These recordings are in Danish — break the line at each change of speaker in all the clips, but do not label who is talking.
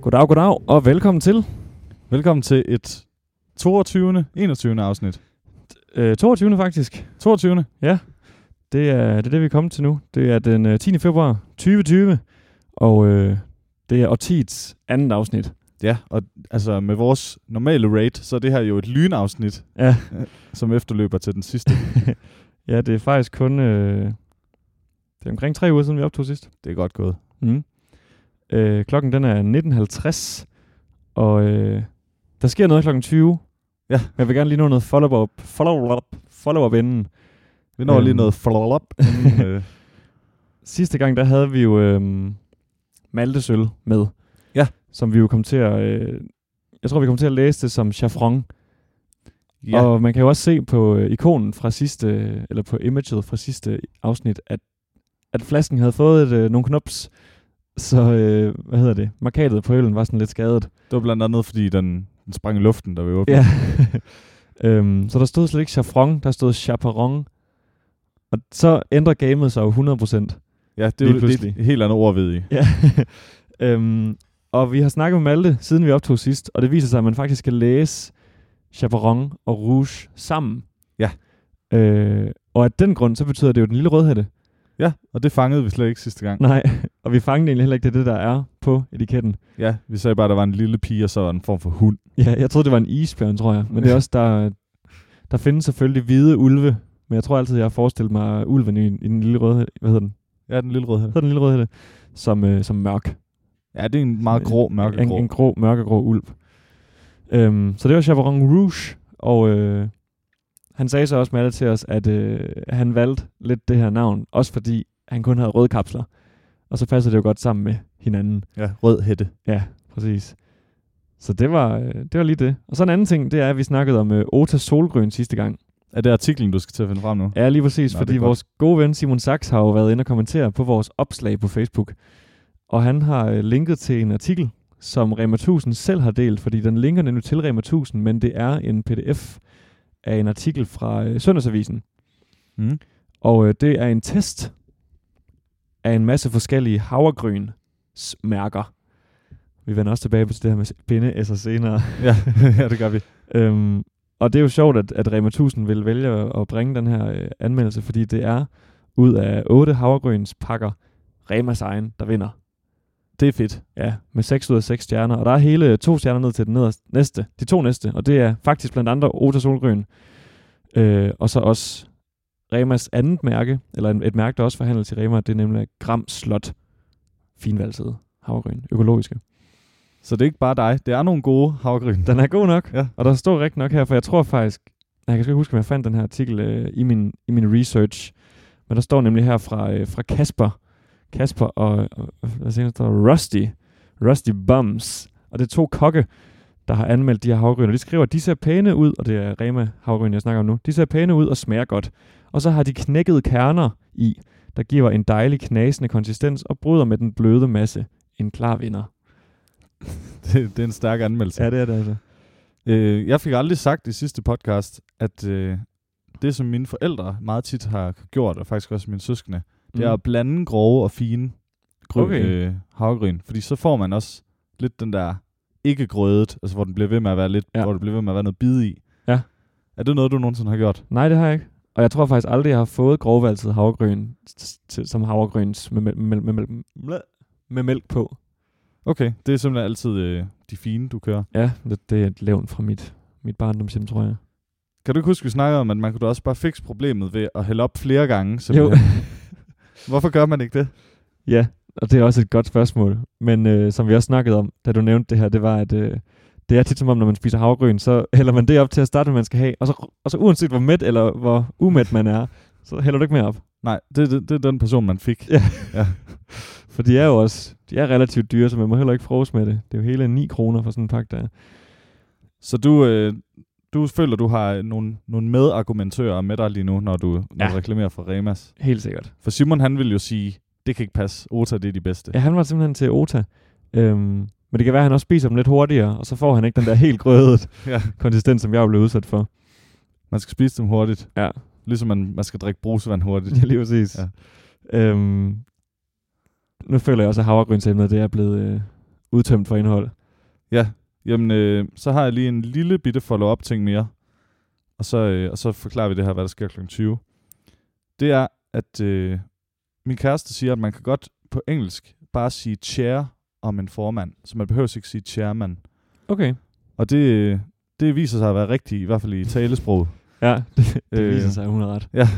Goddag, goddag, og velkommen til
Velkommen til et 22. 21. afsnit.
øh, 22. faktisk.
22.
Det er, det er det, vi er kommet til nu. Det er den øh, 10. februar 2020, og øh, det er årtiets andet afsnit.
Ja, og altså med vores normale rate, så er det her jo et lynafsnit, øh,
Ja,
som efterløber til den sidste.
ja det er faktisk kun... Øh, det er omkring tre uger siden, vi optog sidst.
Det er godt gået.
Mm. Øh, klokken den er 19.50, og øh, der sker noget klokken 20.
Ja.
Men jeg vil gerne lige nå noget follow-up, follow-up, follow-up inden.
Vi når
Øhm.
lige noget flop. inden, øh,
Sidste gang, der havde vi jo øhm, maltesøl med.
Ja.
Som vi jo kom til at... Øh, jeg tror, vi kom til at læse det som chafron. Ja.
ja,
Og man kan jo også se på øh, ikonen fra sidste... Eller på imaget fra sidste afsnit, at, at flasken havde fået et, øh, nogle knops. Så, øh, hvad hedder det? Markatet på øllen var sådan lidt skadet.
det var blandt andet, fordi den, den sprang i luften, der vi åbnede.
Ja. øhm, så der stod slet ikke chafron, der stod chaperon. Og så ændrer gamet sig jo 100%.
ja det er jo
Lige
det er
pludselig.
et helt andet ord, ved I.
Ja. øhm, og vi har snakket med Malte, siden vi optog sidst, og det viser sig, at man faktisk kan læse Chaperon og Rouge sammen.
Ja.
Øh, og af den grund, så betyder det jo den lille rødhætte.
Ja, og det fangede vi slet ikke sidste gang.
Nej, og vi fangede egentlig heller ikke det, er det der er på etiketten.
Ja, vi sagde bare, at der var en lille pige, og så var der en form for hund.
Ja, jeg troede, det var en isbjørn, tror jeg. Men det er også, der, der findes selvfølgelig hvide ulve. Men jeg tror altid, jeg har forestillet mig ulven i, i den lille rødhætte. Hvad hedder den?
Ja, den lille rødhed.
Hedder den lille rødhætte? Som, øh, som mørk.
Ja, det er en meget grå, mørkegrå.
En, en grå, mørkegrå ulv. Øhm, så det var Chaperon Rouge, og øh, han sagde så også med alle til os, at øh, han valgte lidt det her navn, også fordi han kun havde røde kapsler. Og så passer det jo godt sammen med hinanden.
Ja, rød hætte.
Ja, præcis. Så det var, øh, det var lige det. Og så en anden ting, det er, at vi snakkede om øh, Ota Solgrøn sidste gang.
Er det artiklen, du skal til at finde frem nu?
Ja, lige præcis,
Nå,
Nå,
det er
fordi
godt.
vores gode ven Simon Sachs har jo været inde og kommentere på vores opslag på Facebook. Og han har øh, linket til en artikel, som Rema 1000 selv har delt, fordi den linker nemlig til Rema 1000, men det er en pdf af en artikel fra øh, Søndagsavisen.
Mm.
Og øh, det er en test af en masse forskellige havregryns mærker. Vi vender også tilbage til det her med pinde senere.
Ja, ja, det gør vi.
Øhm, og det er jo sjovt, at, at Rema 1000 vil vælge at- at bringe den her øh, anmeldelse, fordi det er ud af otte havregryns pakker Remas egen, der vinder.
Det er fedt.
Ja, med 6 ud af 6 stjerner. Og der er hele øh, to stjerner ned til den nederste, næste, de to næste. Og det er faktisk blandt andre Ota Solgrøn. Øh, og så også Remas andet mærke, eller en- et mærke, der også forhandles i Rema, det er nemlig Gram Slot. Finvalsede havregryn. Økologiske.
Så det er ikke bare dig. Det er nogle gode havgryn.
Den er god nok.
Ja.
Og der står rigtig nok her, for jeg tror faktisk, jeg kan sgu ikke huske, om jeg fandt den her artikel øh, i, min, i min research, men der står nemlig her fra, øh, fra Kasper, Kasper og, og hvad siger, han, der står Rusty, Rusty Bums, og det er to kokke, der har anmeldt de her havgryn, og de skriver, at de ser pæne ud, og det er Rema havgryn, jeg snakker om nu, de ser pæne ud og smager godt. Og så har de knækkede kerner i, der giver en dejlig knasende konsistens og bryder med den bløde masse. En klar vinder.
Det, det er en stærk anmeldelse.
det er det altså.
Øh, jeg fik aldrig sagt i sidste podcast, at øh, det, som mine forældre meget tit har gjort, og faktisk også mine søskende, mm. det er at blande grove og fine grøn,
Okay.
øh, havgryn. Fordi så får man også lidt den der ikke grødet, altså hvor den bliver ved med at være lidt,
Ja.
ja. hvor det bliver ved med at være noget bid i.
Ja.
Er det noget, du nogensinde har gjort?
Nej, det har jeg ikke. Og jeg tror faktisk aldrig, jeg har fået grovvalset havregryn s- til- som havregryns med, mæl- med, med, med, med, med mælk på.
Okay, det er simpelthen altid øh, de fine, du kører.
Ja, det, det er et levn fra mit, mit barndomshjem, tror jeg.
Kan du ikke huske, vi snakkede om, at man kunne da også bare fikse problemet ved at hælde op flere gange?
Jo,
Simpelthen. Hvorfor gør man ikke det?
ja, og det er også et godt spørgsmål. Men øh, som vi også snakkede om, da du nævnte det her, det var, at øh, det er tit som om, når man spiser havregryn, så hælder man det op til at starte, med, man skal have. Og så, og så uanset hvor mæt eller hvor umæt man er, så hælder du ikke mere op.
Nej, det, det, det er den person, man fik.
Ja.
Ja.
For de er jo også de er relativt dyre, så man må heller ikke frose med det. Det er jo hele 9 kroner for sådan en pakke der. er.
Så du, øh, du føler, du har nogle, nogle medargumentører med dig lige nu, når du, når
Ja.
du reklamerer for Remas.
Helt sikkert.
For Simon, han vil jo sige, det kan ikke passe. Ota, det er de bedste.
Ja, han var simpelthen til Ota. Øhm, men det kan være, at han også spiser dem lidt hurtigere, og så får han ikke den der helt grødet
Ja.
konsistens, som jeg blev udsat for.
Man skal spise dem hurtigt.
Ja.
Ligesom man, man skal drikke brusevand hurtigt.
Ja, lige præcis.
Ja.
Ja. Øhm, nu føler jeg også, at havregrynsemnet det er blevet, øh, udtømt for indhold.
Ja, jamen øh, så har jeg lige en lille bitte follow-up ting mere. Og så, øh, og så forklarer vi det her, hvad der sker kl. 20. Det er, at øh, min kæreste siger, at man kan godt på engelsk bare sige chair om en formand. Så man behøver ikke sige chairman.
Okay.
Og det, øh, det viser sig at være rigtigt, i hvert fald i talesproget.
Ja, det, det øh,
Øh.
viser sig, at hun har ret.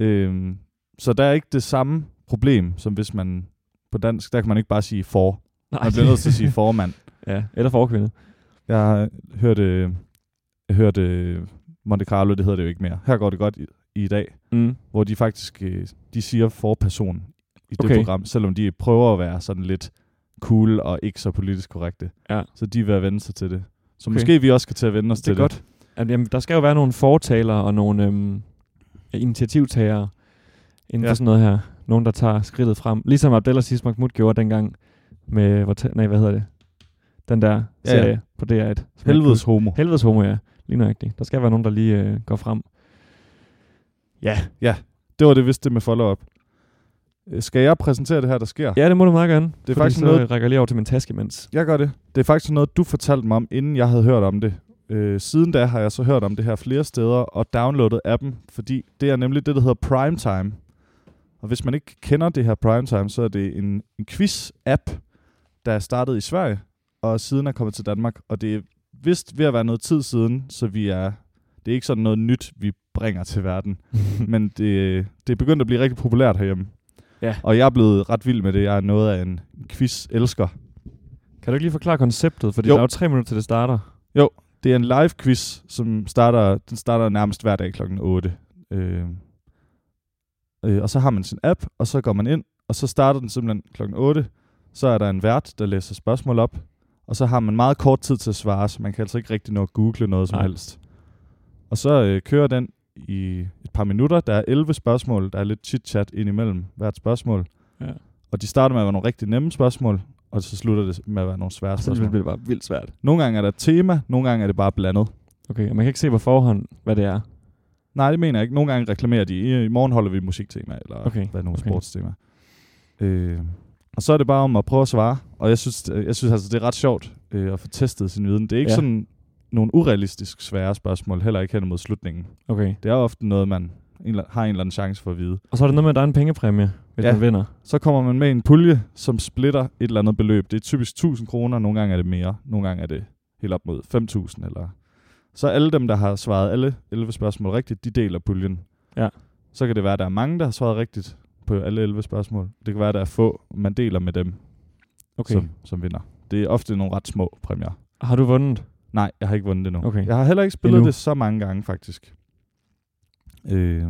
Øhm, så der er ikke det samme problem, som hvis man på dansk, der kan man ikke bare sige for.
Nej,
Man bliver nødt til at sige formand.
ja, eller forkvinde.
Jeg har hørt, øh, jeg hørt øh, Monte Carlo, det hedder det jo ikke mere. Her går det godt i, i dag,
Mm.
hvor de faktisk øh, de siger forperson i det
Okay.
program, selvom de prøver at være sådan lidt cool og ikke så politisk korrekte.
Ja.
Så de er ved at vende sig til det. Så
Okay.
okay. måske vi også skal til at vende os
Det er
til
godt. At, jamen, der skal jo være nogle fortalere og nogle øhm, initiativtagere inden ja. for
Ja.
sådan noget her. Nogen, der tager skridtet frem. Ligesom Abdelaziz Mahmoud gjorde dengang med, hvor ta- nej, hvad hedder det? Den der
Ja,
serie
ja.
på DR1. som jeg ikke
det. Helvedes homo.
Helvedes homo, ja. Lige nøjagtigt. Der skal være nogen, der lige øh, går frem. Ja.
Det var det vist det med follow-up. Øh, Skal jeg præsentere det her, der sker?
Ja, det må du meget gerne. Det
faktisk
så
noget-
rækker jeg lige over til min taske imens.
Jeg gør det. Det er faktisk noget, du fortalte mig om, inden jeg havde hørt om det. Øh, siden da har jeg så hørt om det her flere steder og downloadet appen, fordi det er nemlig det, der hedder Primetime. Og hvis man ikke kender det her Primetime, så er det en, en quiz-app, der er startet i Sverige, og siden er kommet til Danmark. Og det er vist ved at være noget tid siden, så vi er... Det er ikke sådan noget nyt, vi bringer til verden. Men det, det er begyndt at blive rigtig populært herhjemme.
Ja.
Og jeg er blevet ret vild med det. Jeg er noget af en quiz-elsker.
Kan du ikke lige forklare konceptet? Fordi jo.
Jo.
der er jo tre minutter, til det starter.
Det er en live quiz, som starter, den starter nærmest hver dag kl. 8. Øh, øh, og så har man sin app, og så går man ind, og så starter den simpelthen kl. 8. Så er der en vært, der læser spørgsmål op, og så har man meget kort tid til at svare, så man kan altså ikke rigtig nå at google noget som
Nej.
Nej. helst. Og så øh, kører den i et par minutter. Der er 11 spørgsmål, der er lidt chit-chat indimellem hvert spørgsmål.
Ja.
Og de starter med at være nogle rigtig nemme spørgsmål, og så slutter det med at være nogle svære
Så det
spørgsmål.
bliver bare vildt svært.
Nogle gange er der et tema, nogle gange er det bare blandet.
Okay, og man kan ikke se på forhånd, hvad det er.
Nej, det mener jeg ikke. Nogle gange reklamerer de. I, i morgen holder vi musiktema, eller
Okay,
okay. hvad er nogle
okay.
okay. sportstema. Øh, og så er det bare om at prøve at svare. Og jeg synes, øh, jeg synes altså, det er ret sjovt øh, at få testet sin viden. Det er ikke
Ja.
ja. sådan nogle urealistisk svære spørgsmål, heller ikke hen mod slutningen.
Okay.
Det er ofte noget, man en eller, har en eller anden chance for at vide.
Og så er det noget med, at der er en pengepræmie, hvis ja.
Ja.
man vinder.
Så kommer man med en pulje, som splitter et eller andet beløb. Det er typisk 1000 kroner, nogle gange er det mere, nogle gange er det helt op mod 5000 eller... Så alle dem, der har svaret alle 11 spørgsmål rigtigt, de deler puljen.
Ja.
Så kan det være, at der er mange, der har svaret rigtigt på alle 11 spørgsmål. Det kan være, at der er få, man deler med dem, okay. som, som vinder. Det er ofte nogle ret små præmier.
Har du vundet?
Nej, jeg har ikke vundet det nu.
Okay.
Jeg har heller ikke spillet
Endnu.
Endnu. det så mange gange, faktisk. Øh,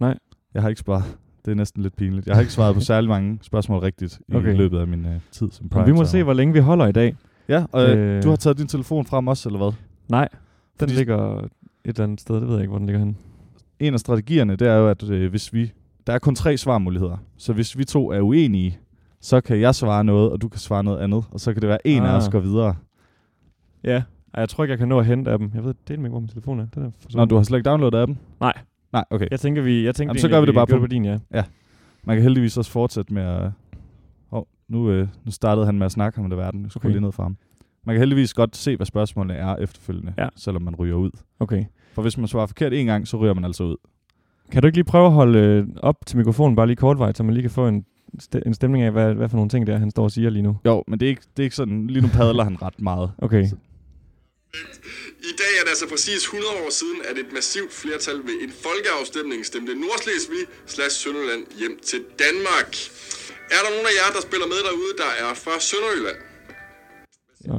Nej.
Jeg har ikke svaret. Det er næsten lidt pinligt. Jeg har ikke svaret på særlig mange spørgsmål rigtigt okay.
Okay.
i løbet af min øh, tid som prime
Prime vi må
timer.
se, hvor længe vi holder i dag.
Ja, og øh,
Øh.
du har taget din telefon frem også, eller hvad?
Nej, den
Fordi-
ligger et eller andet sted. Det ved jeg ikke, hvor den ligger henne.
En af strategierne, det er jo, at øh, hvis vi... Der er kun tre svarmuligheder. Så hvis vi to er uenige, så kan jeg svare noget, og du kan svare noget andet. Og så kan det være, at en ah. af
Ah.
os går videre.
Ja, og jeg tror ikke, jeg kan nå at hente af dem. Jeg ved det ikke, hvor min telefon er. Den er forsvundet.
Nå, du har slet ikke downloadet appen?
Nej.
Nej, okay.
Jeg tænker, vi, jeg tænker
Jamen, så gør vi det bare
på,
på-
på din, ja.
Man kan heldigvis også fortsætte med at... Oh, nu, øh, nu startede han med at snakke om det verden. Jeg skulle
Okay.
okay. lige ned fra ham. Man kan heldigvis godt se, hvad spørgsmålene er efterfølgende,
Ja.
ja. selvom man ryger ud.
Okay.
For hvis man svarer forkert en gang, så ryger man altså ud.
Kan du ikke lige prøve at holde øh, op til mikrofonen, bare lige kortvejt, så man lige kan få en, st- en stemning af, hvad, hvad for nogle ting det er, han står og siger lige nu?
Jo, men det er ikke, det er ikke sådan... Lige nu padler han ret meget.
Okay.
I dag er det altså præcis 100 år siden, at et massivt flertal ved en folkeafstemning stemte Nordslesvig slash Sønderjylland hjem til Danmark. Er der nogen af jer, der spiller med derude, der er fra Sønderjylland?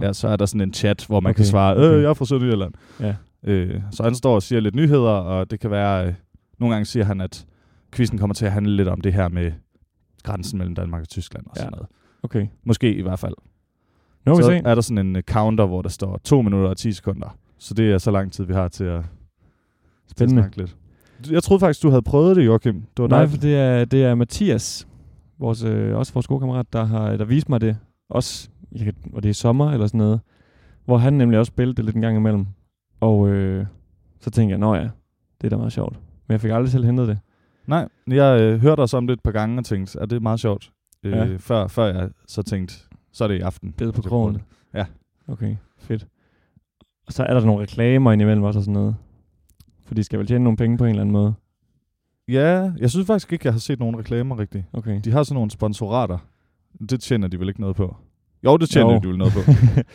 Ja, så er der sådan en chat, hvor man okay. kan
Okay,
svare,
okay.
øh, jeg er fra Sønderjylland.
Ja.
Øh, så han står og siger lidt nyheder, og det kan være... Øh, nogle gange siger han, at quizzen kommer til at handle lidt om det her med grænsen mellem Danmark og Tyskland og
Ja.
ja. sådan noget.
Okay.
Måske i hvert fald.
Nu må vi
så
se.
er der sådan en øh, counter, hvor der står 2 minutter og 10 sekunder. Så det er så lang tid, vi har til at, til at
Spændende.
snakke lidt. Du- Jeg troede faktisk, du havde prøvet det, Joachim. Det var
Nej,
dig.
for det er, det er Mathias, vores, øh, også vores gode kammerat, der, har, der viste mig det. Også, jeg kan, og det er sommer eller sådan noget. Hvor han nemlig også spillede det lidt en gang imellem. Og øh, så tænkte jeg, nå ja, det er da meget sjovt. Men jeg fik aldrig selv hentet det.
Nej, jeg øh, hørte også om det et par gange og tænkte, at det er meget sjovt. Øh,
Ja.
ja. før, før jeg så tænkte, så er det i aften.
Bed på
Så
krogen.
bruger det.
Okay, fedt. Og så er der nogle reklamer indimellem også og sådan noget. For de skal vel tjene nogle penge på en eller anden måde.
Ja, jeg synes faktisk ikke, jeg har set nogen reklamer rigtigt.
Okay.
De har sådan nogle sponsorater. Det tjener de vel ikke noget på? Jo, det tjener
Jo.
de vel noget på.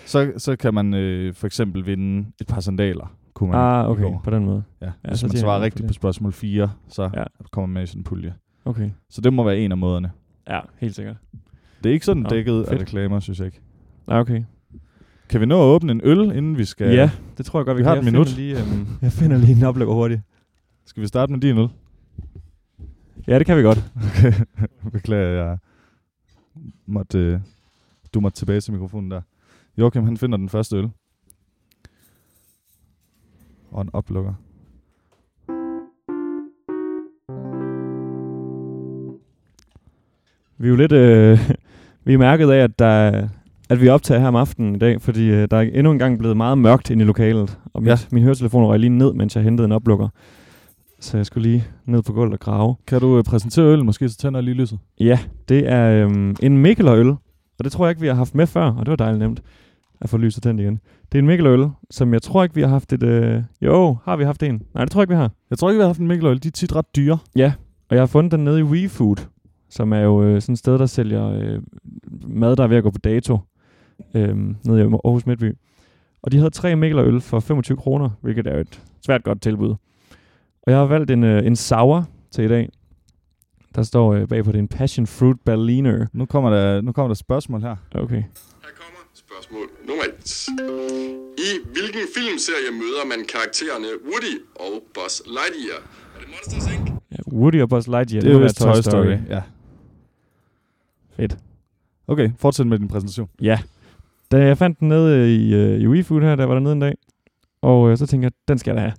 så, så kan man øh, for eksempel vinde et par sandaler. Kunne man
ah,
i
okay,
går.
på den måde.
Ja,
Ja,
hvis
så
man
tjener man
svarer
for
rigtigt
det.
på spørgsmål 4, så
Ja.
ja. kommer man med i sådan en pulje.
Okay.
Så det må være en af måderne.
Ja, helt sikkert.
Det er ikke sådan
Nå,
dækket af
fedt.
reklamer, synes jeg ikke.
Ah, okay.
Kan vi nå at åbne en øl, inden vi skal...
Ja, ja det tror jeg godt, vi,
Vi
kan.
har
Jeg
et minut.
finder Lige, øhm, jeg finder lige en oplægger hurtigt.
Skal vi starte med din øl?
Ja, det kan vi godt.
Okay. Beklager, jeg måtte, øh, du måtte tilbage til mikrofonen der. Joachim, han finder den første øl. Og en oplukker.
Vi er jo lidt... Øh, vi er mærket af, at, der, er- at vi optager her om aftenen i dag, fordi øh, der er endnu en gang blevet meget mørkt ind i lokalet. Og mit, ja.
Ja.
min høretelefon røg lige ned, mens jeg hentede en oplukker. Så jeg skulle lige ned på gulvet og grave.
Kan du øh, præsentere øl? Måske så tænder jeg lige lyset.
Ja, det er øhm, en Mikkeløl, og det tror jeg ikke, vi har haft med før, og det var dejligt nemt at få lyset tændt igen. Det er en Mikkeløl, som jeg tror ikke, vi har haft et... Øh, jo, har vi haft en? Nej, det tror jeg ikke, vi har.
Jeg tror ikke, vi har haft en Mikkeløl. De er tit ret dyre.
Og jeg har fundet den nede i WeFood, som er jo øh, sådan et sted, der sælger øh, mad, der er ved at gå på dato, øh, nede i Aarhus Midtby. Og de havde tre Mikkeløl for 25 kroner, hvilket er jo et svært godt tilbud. Og jeg har valgt en, øh, en sour til i dag. Der står øh, bagpå, det er en Passion Fruit Berliner.
Nu kommer der, nu kommer der spørgsmål her.
Okay.
Her kommer spørgsmål nummer 1. I hvilken filmserie møder man karaktererne Woody og Buzz Lightyear? Er det Monsters Inc.,
Ja, Woody og Buzz Lightyear.
det
må
er jo
være
vist Toy Story. Ja.
Fedt.
Okay, fortsæt med din præsentation.
Ja. Da jeg fandt den nede øh, i, øh, i WeFood her, der var der nede en dag, og øh, så tænkte jeg, den skal jeg da have.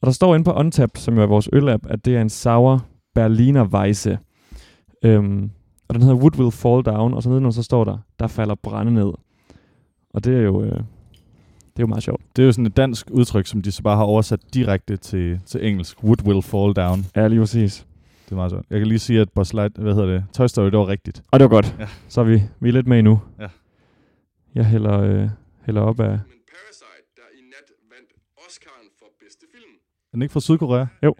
Og der står inde på Untap, som jo er vores øl-app, at det er en sour Berliner Weisse. Øhm, og den hedder Wood Will Fall Down, og så nedenunder så står der, der falder brænde ned. Og det er jo, øh, det er jo meget sjovt.
Det er jo sådan et dansk udtryk, som de så bare har oversat direkte til, til engelsk. Wood will fall down.
Ja, lige præcis.
Det er meget sjovt. Jeg kan lige sige, at Buzz Light, hvad hedder det? Toy Story, det var rigtigt.
Og det var godt.
Ja.
Så er vi, vi er lidt med nu.
Ja.
Jeg hælder, øh, hælder op af...
men Parasite, der i nat vandt Oscar'en for bedste film?
Er den ikke fra Sydkorea?
Jo.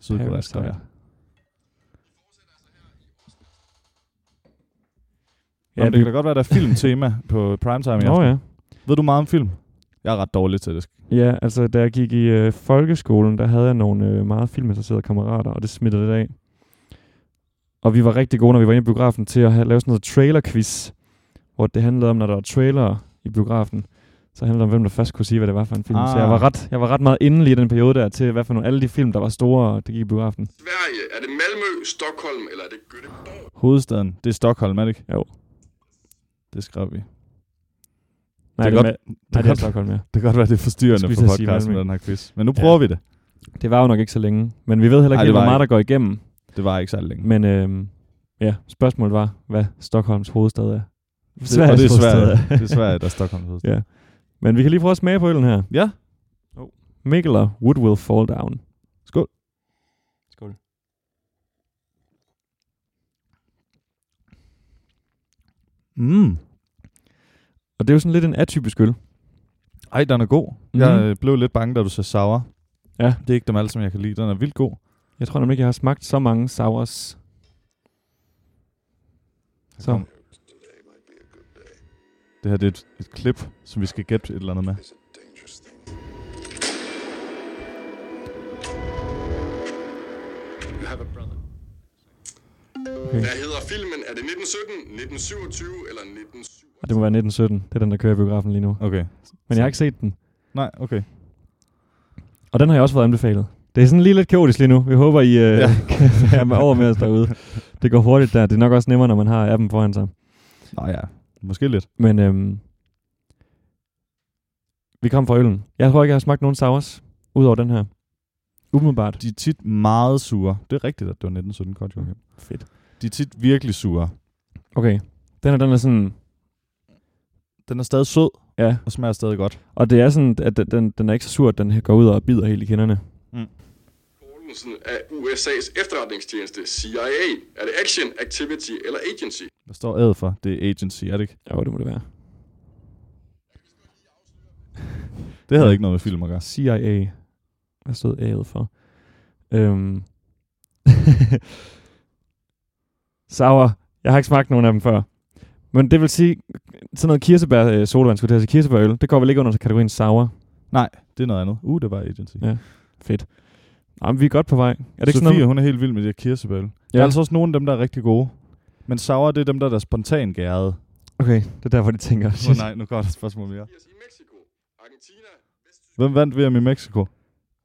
Sydkorea,
Parasite.
tror jeg. Ja,
Ja,
Nå, det kan da godt være, der er filmtema på primetime i
Nå
aften.
ja.
Ved du meget om film? Jeg er ret dårlig til det.
Ja, altså da jeg gik i øh, folkeskolen, der havde jeg nogle øh, meget filminteresserede kammerater, og det smittede lidt af. Og vi var rigtig gode, når vi var inde i biografen, til at have, lave sådan noget trailer-quiz, hvor det handlede om, når der var trailere i biografen, så handlede det om, hvem der først kunne sige, hvad det var for en film. Ah. Så
Ah.
jeg var, ret, jeg var ret meget inde lige i den periode der, til hvad for nogle, alle de film, der var store, det gik i biografen.
Sverige, er det Malmø, Stockholm eller er det Göteborg?
Hovedstaden, det er Stockholm, er det ikke?
Jo.
Det skrev vi. Det
Nej,
er
det,
godt-
med, nej,
kan,
det er
godt,
Stockholm, ja.
det kan godt være, det er forstyrrende
Skulle
for
lige til at sige
podcasten med
Malmø.
den her quiz. Men nu prøver vi det.
Det var jo nok ikke så længe, men vi ved heller
Nej,
ikke,
det
helt, hvor
var
meget
ikke.
der går igennem.
Det var ikke særlig længe.
Men øh, ja, spørgsmålet var, hvad Stockholms hovedstad er.
det, og det er
hovedstad
Sverige. det er Sverige, der er Stockholm hovedstad.
Ja. Men vi kan lige prøve at smage på øllen her.
Ja.
Mikkeler Wood Will Fall Down.
Skål.
Skål.
Mm.
Og det er jo sådan lidt en atypisk øl.
Ej, den er god.
Mhm.
Mm-hmm. Jeg øh, blev lidt bange, da du sagde sour.
Ja.
Det er ikke dem alle, som jeg kan lide. Den er vildt god.
Jeg tror nemlig ikke, jeg har smagt så mange sours. Så.
kom. Det her det er et, et klip, som vi skal gætte et eller andet med.
Okay.
Hvad hedder filmen? Er det 1917, 1927 eller 1927?
Og det må være 1917. Det er den, der kører i biografen lige nu.
Okay.
Men jeg har ikke set den.
Nej, okay.
Og den har jeg også fået anbefalet. Det er sådan lige lidt kaotisk lige nu. Vi håber, I øh, ja.
Ja.
kan være med over med os derude. Det går hurtigt der. Det er nok også nemmere, når man har appen foran sig.
Nå ja, måske lidt.
Men øhm, vi kom fra øllen. Jeg tror ikke, jeg har smagt nogen sours, udover den her. Umiddelbart.
De er tit meget sure. Det er rigtigt, at det var 1917 godt, Joachim.
Fedt.
De er tit virkelig sure.
Okay. Den her, den er sådan...
Den er stadig sød
Ja.
og smager stadig godt.
Og det er sådan, at den- den, den er ikke så sur, at den går ud og bider helt i kinderne.
Poulsen af USA's efterretningstjeneste CIA? Er det Action, Activity eller Agency?
Hvad står ad for? Det er agency, er det ikke?
Jo, det må det være.
Det havde ikke noget med film at gøre.
CIA. Hvad stod A'et for? Øhm. Sauer. Jeg har ikke smagt nogen af dem før. Men det vil sige, sådan noget kirsebær øh, sodavand, skulle det altså kirsebærøl, det går vel ikke under kategorien sour.
Det er noget andet. Uh, det var agency.
Ja. Fedt. Jamen, vi er godt på vej. Er
Er
det ikke
Sofie,
sådan noget?
hun er helt vild med de her kirsebøl. Ja. Der
Ja.
er altså også nogle af dem, der er rigtig gode. Men sauer, det er dem, der er spontan gærede. Åh
Okay, det er derfor, de tænker.
oh, nej, nu går der et spørgsmål mere.
I Mexico, Argentina, Vesttyskland,
Hvem vandt VM i Mexico?
Og det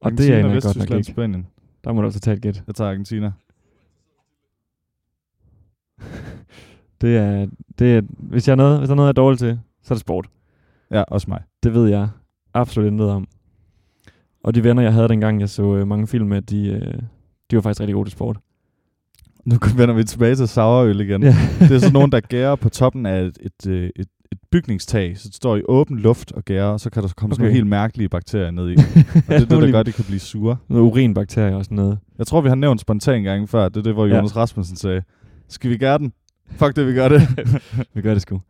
er
Argentina,
jeg godt nok
Vesttyskland,
ikke.
Spanien.
Der må du altså tage et gæt.
Jeg tager Argentina.
Det er, det er, hvis, jeg er noget, hvis der er noget, jeg er dårlig til, så er det sport.
Ja, også mig.
Det ved jeg absolut intet om. Og de venner, jeg havde dengang, jeg så øh, mange film med, de, øh, de var faktisk rigtig gode til sport.
Nu vender vi tilbage til sauerøl igen.
Ja.
det er sådan nogen, der gærer på toppen af et, et, øh, et, et bygningstag, så det står i åben luft og gærer, og så kan der komme okay. sådan
Okay.
nogle helt mærkelige bakterier ned i. Og det er det, der gør, at de kan blive sure.
Noget urinbakterier og sådan noget.
Jeg tror, vi har nævnt spontan gange før, det er det, hvor
Ja.
Jonas Rasmussen sagde, skal vi gære den? Fuck det, vi gør det.
Vi gør det sgu.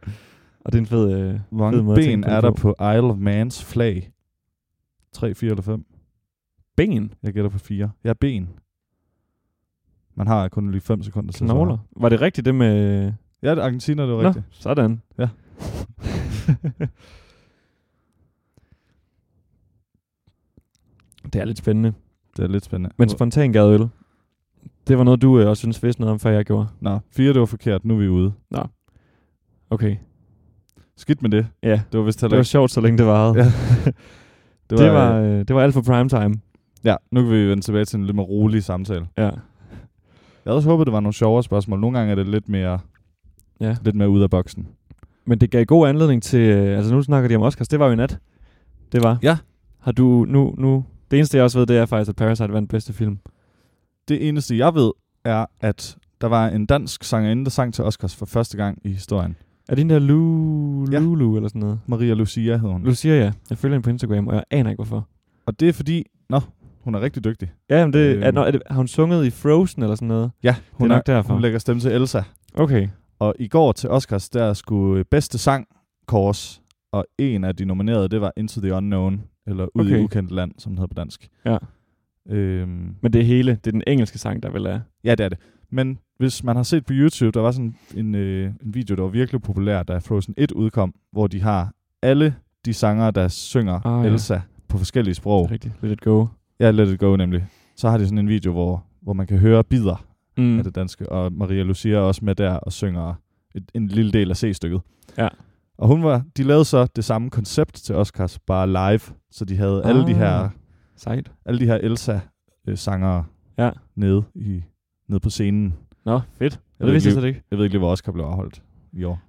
Og det er en fed... Øh,
Hvor
Fed
mange
måde at
ben
tænke på
er
det
der på Isle of Mans flag? 3, 4 eller 5?
ben.
Jeg gætter på 4. Jeg er ben. Man har kun lige 5 sekunder til at svare.
Knogler. Var det rigtigt det med...
Ja, det er Argentina, det var
Nå,
rigtigt.
sådan.
Ja.
det er lidt spændende.
Det er lidt spændende.
Men spontan gadeøl. Det var noget, du øh, også synes vidste noget om, før jeg gjorde.
Nå, 4 det var forkert, nu er vi ude.
Okay.
Skidt med det.
Ja,
Det var vist
det
heller
var
ikke.
sjovt, så længe det varede.
Ja.
Det var, det var, øh, det var alt for primetime.
Ja, nu kan vi vende tilbage til en lidt mere rolig samtale.
Ja.
Jeg havde også håbet, det var nogle sjovere spørgsmål. Nogle gange er det lidt mere,
ja.
lidt mere ude af boksen.
Men det gav god anledning til... Øh, altså, nu snakker de om Oscars. Det var jo i nat. Det var.
Ja.
Har du nu... nu det eneste, jeg også ved, det er faktisk, at Parasite vandt bedste film.
Det eneste, jeg ved, er, at der var en dansk sangerinde, der sang til Oscars for første gang i historien.
Er det den der Lu,
Ja.
Lulu eller sådan noget?
Maria Lucia hed hun.
Lucia, ja. Jeg følger hende på Instagram, og jeg aner ikke, hvorfor.
Og det er fordi, nå, hun er rigtig dygtig.
Ja, men det, er,
Øhm.
nå, er det, har hun sunget i Frozen eller sådan noget?
Ja, hun,
det er nok derfor.
hun lægger stemme til Elsa.
Okay.
Og i går til Oscars, der skulle øh, bedste sang kors, og en af de nominerede, det var Into the Unknown, eller Ud okay.
Okay.
i ukendt land, som den hedder på dansk.
Ja.
Øhm,
Men det hele, det er den engelske sang, der vel er.
ja, det er det. Men hvis man har set på YouTube, der var sådan en, øh, en video, der var virkelig populær, da Frozen 1 udkom, hvor de har alle de sangere, der synger
Ah,
oh,
ja.
Elsa ja. på forskellige sprog.
Rigtigt. Let it go.
Ja, Let It Go nemlig. Så har de sådan en video, hvor, hvor man kan høre bider
Mm.
af det danske. Og Maria Lucia er også med der og synger et, en lille del af C-stykket.
Ja.
Og hun var, de lavede så det samme koncept til Oscars, bare live. Så de havde ah. alle de
Ah.
her,
Sejt.
alle de her Elsa-sangere
Ja.
nede, i, nede på scenen.
Nå, fedt.
Jeg
det
ved
vidste
ikke
jeg slet ikke.
Jeg ved ikke lige, hvor Oscar blev afholdt i år.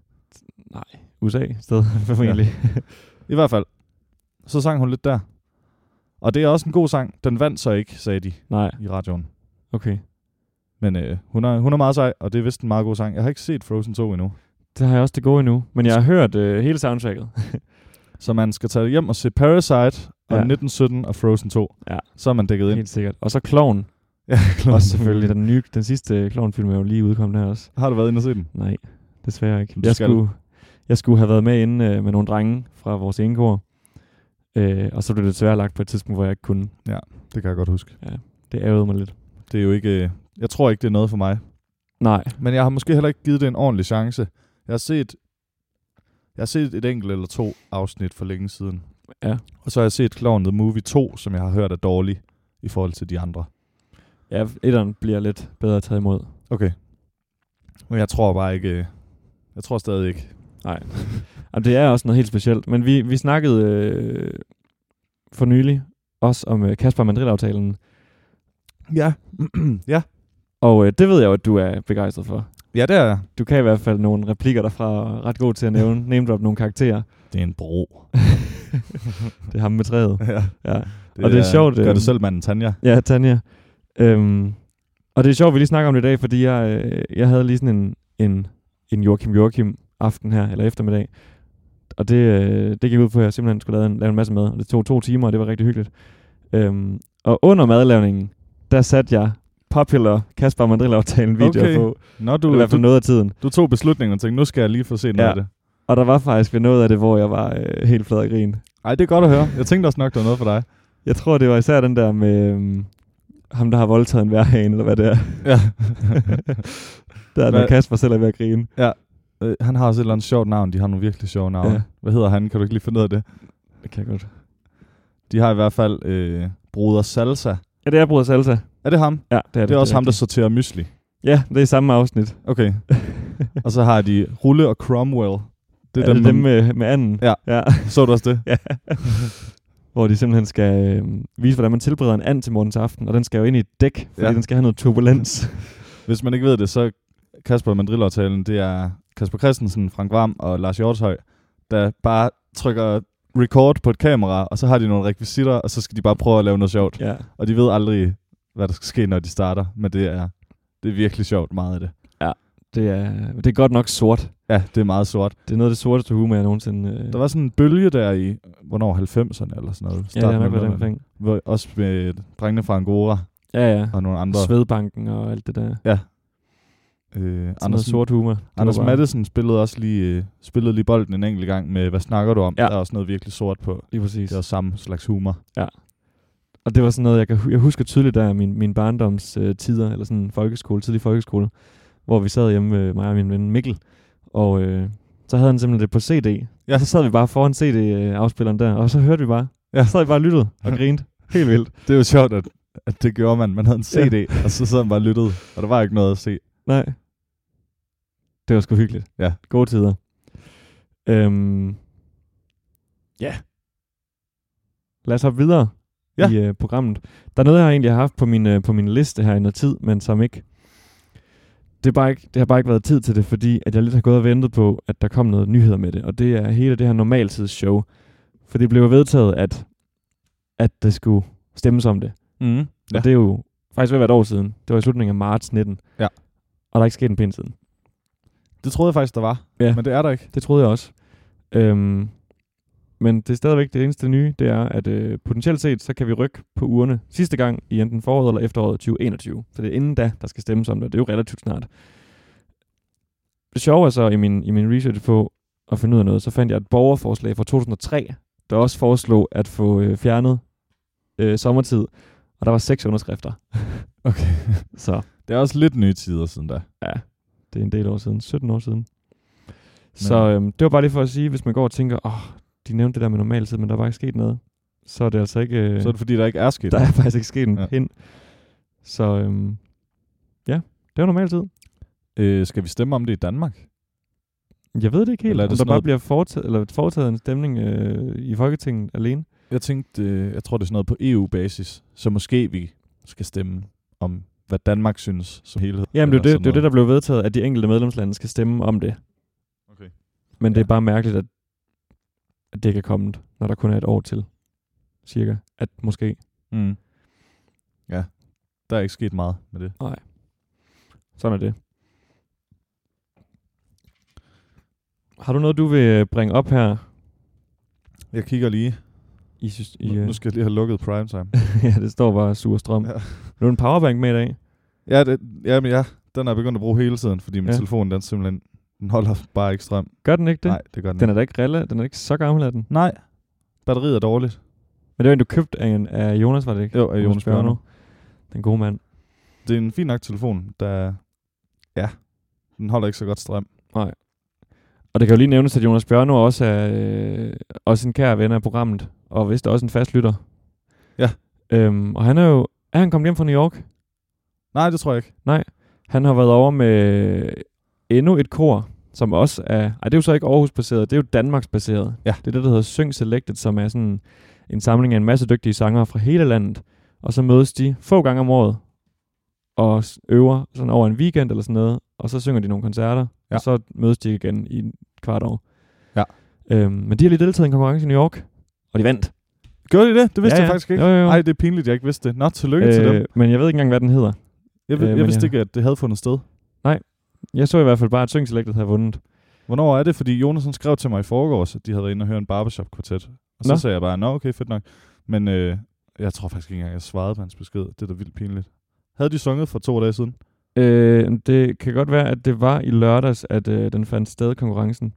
USA sted, formentlig.
I hvert fald, så sang hun lidt der. Og det er også en god sang. Den vandt så ikke, sagde de
Nej,
i radioen.
okay.
Men øh, hun, er, hun er meget sej, og det er vist en meget god sang. Jeg har ikke set Frozen 2 endnu.
Det har jeg også det gode endnu. Men jeg har hørt øh, hele soundtracket.
Så man skal tage hjem og se Parasite
Ja.
og 1917 og Frozen 2.
Ja.
Så er man dækket ind.
Helt sikkert. Og så Kloven.
Ja, klar.
Også selvfølgelig. Den, nye, den sidste Kloven-film er jo lige udkommet her også.
Har du været inde og set den?
Nej, desværre ikke.
Men du
Jeg
skal.
skulle, jeg skulle have været med inde øh, med nogle drenge fra vores engekor. Øh, og så blev det desværre lagt på et tidspunkt, hvor jeg ikke kunne.
Det kan jeg godt huske.
Det ærgede mig lidt.
Det er jo ikke... øh, Jeg tror ikke, det er noget for mig.
Nej,
Men jeg har måske heller ikke givet det en ordentlig chance. Jeg har set... Jeg har set et enkelt eller to afsnit for længe siden.
Ja.
Og så har jeg set Clown The Movie 2, som jeg har hørt er dårlig i forhold til de andre.
ja, etteren bliver lidt bedre taget imod.
Okay. Men jeg tror bare ikke... øh, Jeg tror stadig ikke.
Jamen, det er også noget helt specielt. Men vi, vi snakkede øh, for nylig også om øh, Kasper Mandrill-aftalen.
Ja. ja.
Og øh, det ved jeg jo, at du er begejstret for.
Ja, det er jeg.
Du kan i hvert fald nogle replikker derfra og er ret god til at nævne. Name drop nogle karakterer.
Det er en bro.
Det er ham med træet.
ja.
Ja. Og det er sjovt,
Gør
øhm,
det selv, manden Tanja.
Ja, Tanja. Øhm, og det er sjovt, vi lige snakker om det i dag, fordi jeg, øh, jeg havde lige sådan en, en, en Joachim Joachim aften her, eller eftermiddag. Og det, øh, det gik ud på, at jeg simpelthen skulle lave en, lave en masse mad. Og det tog to timer, og det var rigtig hyggeligt. Øhm, og under madlavningen, der satte jeg popular Kasper Mandrill-aftalen video
Okay.
okay. på.
Nå,
Du, I
du,
hvert fald
du,
noget af tiden.
du tog beslutningen og tænkte, nu skal jeg lige få set noget
Ja.
af det.
Og der var faktisk ved noget af det, hvor jeg var øh, helt flad af grin.
Ej, det er godt at høre. Jeg tænkte også nok, der var noget for dig.
Jeg tror, det var især den der med øhm, ham, der har voldtaget en værhane, eller hvad det er.
Ja.
Der er,
Hvad-
når Kasper selv er ved at grine.
Øh, han har også et eller andet sjovt navn. De har nogle virkelig sjove navne. Ja.
Ja.
Hvad hedder han? Kan du ikke lige finde ud af det?
Det kan jeg godt.
De har i hvert fald øh, Bruder Salsa.
Ja, det er Bruder Salsa.
Er det ham? Det
Ja, det er det.
er, det er også ham, der sorterer mysli.
Ja, det er i samme afsnit.
Okay. og så har de Rulle og Cromwell.
Det er, er dem, dem
man-
med, med anden.
Ja.
ja.
Så du også det?
Ja. Hvor de simpelthen skal øh, vise, hvordan man tilbereder en and til morgens aften, og den skal jo ind i et dæk, fordi
Ja.
ja. den skal have noget turbulens.
Hvis man ikke ved det, så Kasper Mandrill-aftalen, det er Kasper Christensen, Frank Vam og Lars Hjortøj, der bare trykker record på et kamera, og så har de nogle rekvisitter, og så skal de bare prøve at lave noget sjovt.
ja.
Og de ved aldrig, hvad der skal ske, når de starter, men det er, det er virkelig sjovt meget af det.
Det er, det er godt nok sort.
Ja, det er meget sort.
Det er noget af det sorteste humor, jeg nogensinde... Øh,
Der var sådan en bølge der i, hvornår, 90'erne eller sådan
ja,
noget.
det har
Starten af
nok været den
00'erne.
omkring.
Hvor- Også med drengene fra Angora
Ja, ja.
og nogle andre.
Svedbanken og alt det der.
Øh,
Sådan noget sort humor. Det
Anders
var bare-
Madsen spillede også lige, øh, spillede lige bolden en enkelt gang med, hvad snakker du om? Ja.
Ja.
Der er også noget virkelig sort på.
Lige præcis.
Det er også samme slags humor.
Og det var sådan noget, jeg, kan, hu- jeg husker tydeligt der min, min barndoms øh, tider, eller sådan folkeskole, tidlig folkeskole, hvor vi sad hjemme med mig og min ven Mikkel, og øh, så havde han simpelthen det på CD.
Ja.
Ja. Så sad vi bare foran CD-afspilleren der, og så hørte vi bare.
Ja.
Ja. Så sad vi bare og lyttede og grinte. Helt vildt.
Det er jo sjovt, at, at det gjorde man. Man havde en CD, og så sad man bare og lyttede, og der var ikke noget at se.
Nej. Det var sgu hyggeligt.
Ja.
Gode tider. Øhm, ja. Lad os hoppe videre
Ja.
ja. i øh, programmet. Der er noget, jeg egentlig har haft på min, øh, på min liste her i noget tid, men som ikke... Det, er bare ikke, det har bare ikke været tid til det, fordi at jeg lidt har gået og ventet på, at der kom noget nyheder med det. Og det er hele det her normaltidsshow. For det blev jo vedtaget, at, at det skulle stemmes om det.
Mm.
Mhm. Ja.
Ja.
Og det er jo faktisk ved at være et år siden. Det var i slutningen af marts 19.
Ja.
Og der er ikke sket en pind siden.
Det troede jeg faktisk, der var,
Ja.
men det er der ikke.
Det troede jeg også. Øhm, men det er stadigvæk det eneste nye, det er, at øh, potentielt set, så kan vi rykke på ugerne sidste gang i enten foråret eller efteråret 2021. Så det er inden da, der skal stemmes om det, og det er jo relativt snart. Det sjove er så i min, i min research på at finde ud af noget, så fandt jeg et borgerforslag fra 2003, der også foreslog at få øh, fjernet øh, sommertid, og der var seks underskrifter.
Okay.
Så
Det er også lidt nye tider siden da.
Ja, det er en del år siden. 17 år siden. Så øhm, det var bare lige for at sige, hvis man går og tænker, åh, oh, de nævnte det der med normaltid, men der var ikke sket noget. Så er det altså ikke... Øh,
Så er det, fordi der ikke er sket.
der er faktisk ikke sket en
Ja.
ja. pind. Så øhm, ja, det var normaltid.
Øh, skal vi stemme om det i Danmark?
Jeg ved det ikke helt, eller
Eller er
om
det
der
sådan
bare
noget-
bliver foretaget, eller foretaget en stemning øh, i Folketinget alene.
Jeg tænkte, øh, jeg tror, det er sådan noget på EU-basis, så måske vi skal stemme om, hvad Danmark synes som helhed.
Jamen, det er
Eller
jo det,
sådan
det, er jo det,
noget.
der blev vedtaget, at de enkelte medlemslande skal stemme om det.
Okay.
Men det
Ja.
er bare mærkeligt, at, at det ikke er kommet, når der kun er et år til, cirka. At måske
Mm. Ja, der er ikke sket meget med det.
Sådan er det. Har du noget, du vil øh, bringe op her?
Jeg kigger lige.
I, sys- i,
Nu,
øh,
nu skal jeg lige have lukket primetime.
ja, det står bare sur strøm.
Ja.
Ja. Du har en powerbank med i dag.
ja, det, jamen ja, den er jeg begyndt at bruge hele tiden, fordi min ja.
Ja.
telefon, den simpelthen den holder bare ikke strøm.
Gør den ikke det?
Nej, det gør
Den
den, den
er da ikke rille, den er ikke så gammel af den.
Nej, batteriet er dårligt.
Men det var en, du købte af, en, af Jonas, var det ikke?
Jo, af Jonas Bjørnov.
Den gode mand.
Det er en fin nok telefon, der... Ja, den holder ikke så godt strøm.
Og det kan jo lige nævnes, at Jonas Bjørno også er øh, også en kær ven af programmet, og vist også en fast lytter.
Ja.
Øhm, og han er jo... Er han kommet hjem fra New York?
Nej, det tror jeg ikke.
Han har været over med endnu et kor, som også er... Ej, det er jo så ikke Aarhus-baseret, det er jo Danmarks-baseret.
Ja.
Det er det, der hedder Syng Selected, som er sådan en samling af en masse dygtige sangere fra hele landet. Og så mødes de få gange om året og s- øver sådan over en weekend eller sådan noget, og så synger de nogle koncerter,
Ja.
ja. og så mødes de igen i et kvart år.
Ja.
Øhm, men de har lige deltaget i en konkurrence i New York, og de vandt.
Gjorde de det? Det vidste
Ja,
jeg
ja.
faktisk ikke.
Jo, jo, jo.
Nej, det er pinligt, jeg ikke vidste det. Nå, tillykke øh, til dem.
men jeg ved ikke engang, hvad den hedder.
Jeg, øh,
øh,
jeg
men
vidste
jeg-
ikke, at det havde fundet sted.
Jeg så i hvert fald bare, at Syng Selected havde vundet.
Hvornår er det? Fordi Jonas han skrev til mig i forgårs, at de havde været inde og høre en barbershop-kvartet. Og så nå.
Nå.
sagde jeg bare, nå okay, fedt nok. Men øh, jeg tror faktisk ikke engang, jeg svarede på hans besked. Det er da vildt pinligt. Havde de sunget for to dage siden?
Øh, det kan godt være, at det var i lørdags, at øh, den fandt sted konkurrencen.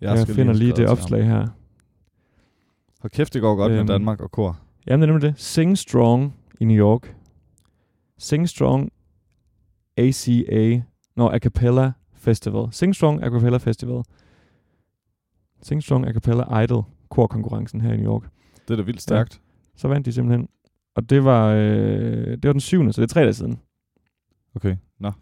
Jeg, jeg finder lige
have
det
skrevet til ham.
opslag her.
Hold kæft, det går godt med
Øhm.
Danmark og kor.
Jamen, det er nemlig det. Sing Strong i New York. Sing Strong ACA. Nå, A Cappella Festival. Sing Strong A Cappella Festival. Sing Strong A Cappella Idol korkonkurrencen her i New York.
Det er da vildt stærkt.
Så vandt de simpelthen. Og det var, øh, det var den syvende, så det er tre dage siden.
Okay, nå.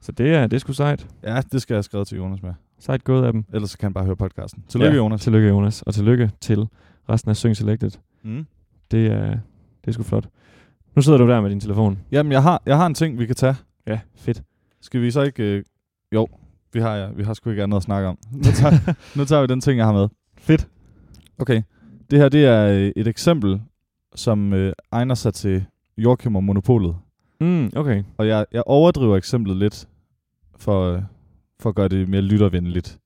Så det er, det er sgu sejt.
Ja, det skal jeg have skrevet til Jonas med.
Sejt gået af dem.
Ellers så kan han bare høre podcasten. Tillykke, ja. Jonas.
Tillykke, Jonas. Og tillykke til resten af Syng Selected.
Mm.
Det er, det er sgu flot. Nu sidder du der med din telefon.
Jamen, jeg har, jeg har en ting, vi kan tage.
Ja, fedt.
Skal vi så ikke... Øh... Jo, vi har, ja, vi har sgu ikke andet at snakke om. Nu tager, nu tager vi den ting, jeg har med.
Fedt.
Okay. Det her, det er øh, et eksempel, som øh, egner sig til Joachim og Monopolet.
Mm, okay.
Og jeg, jeg overdriver eksemplet lidt, for, øh, for at gøre det mere lyttervenligt.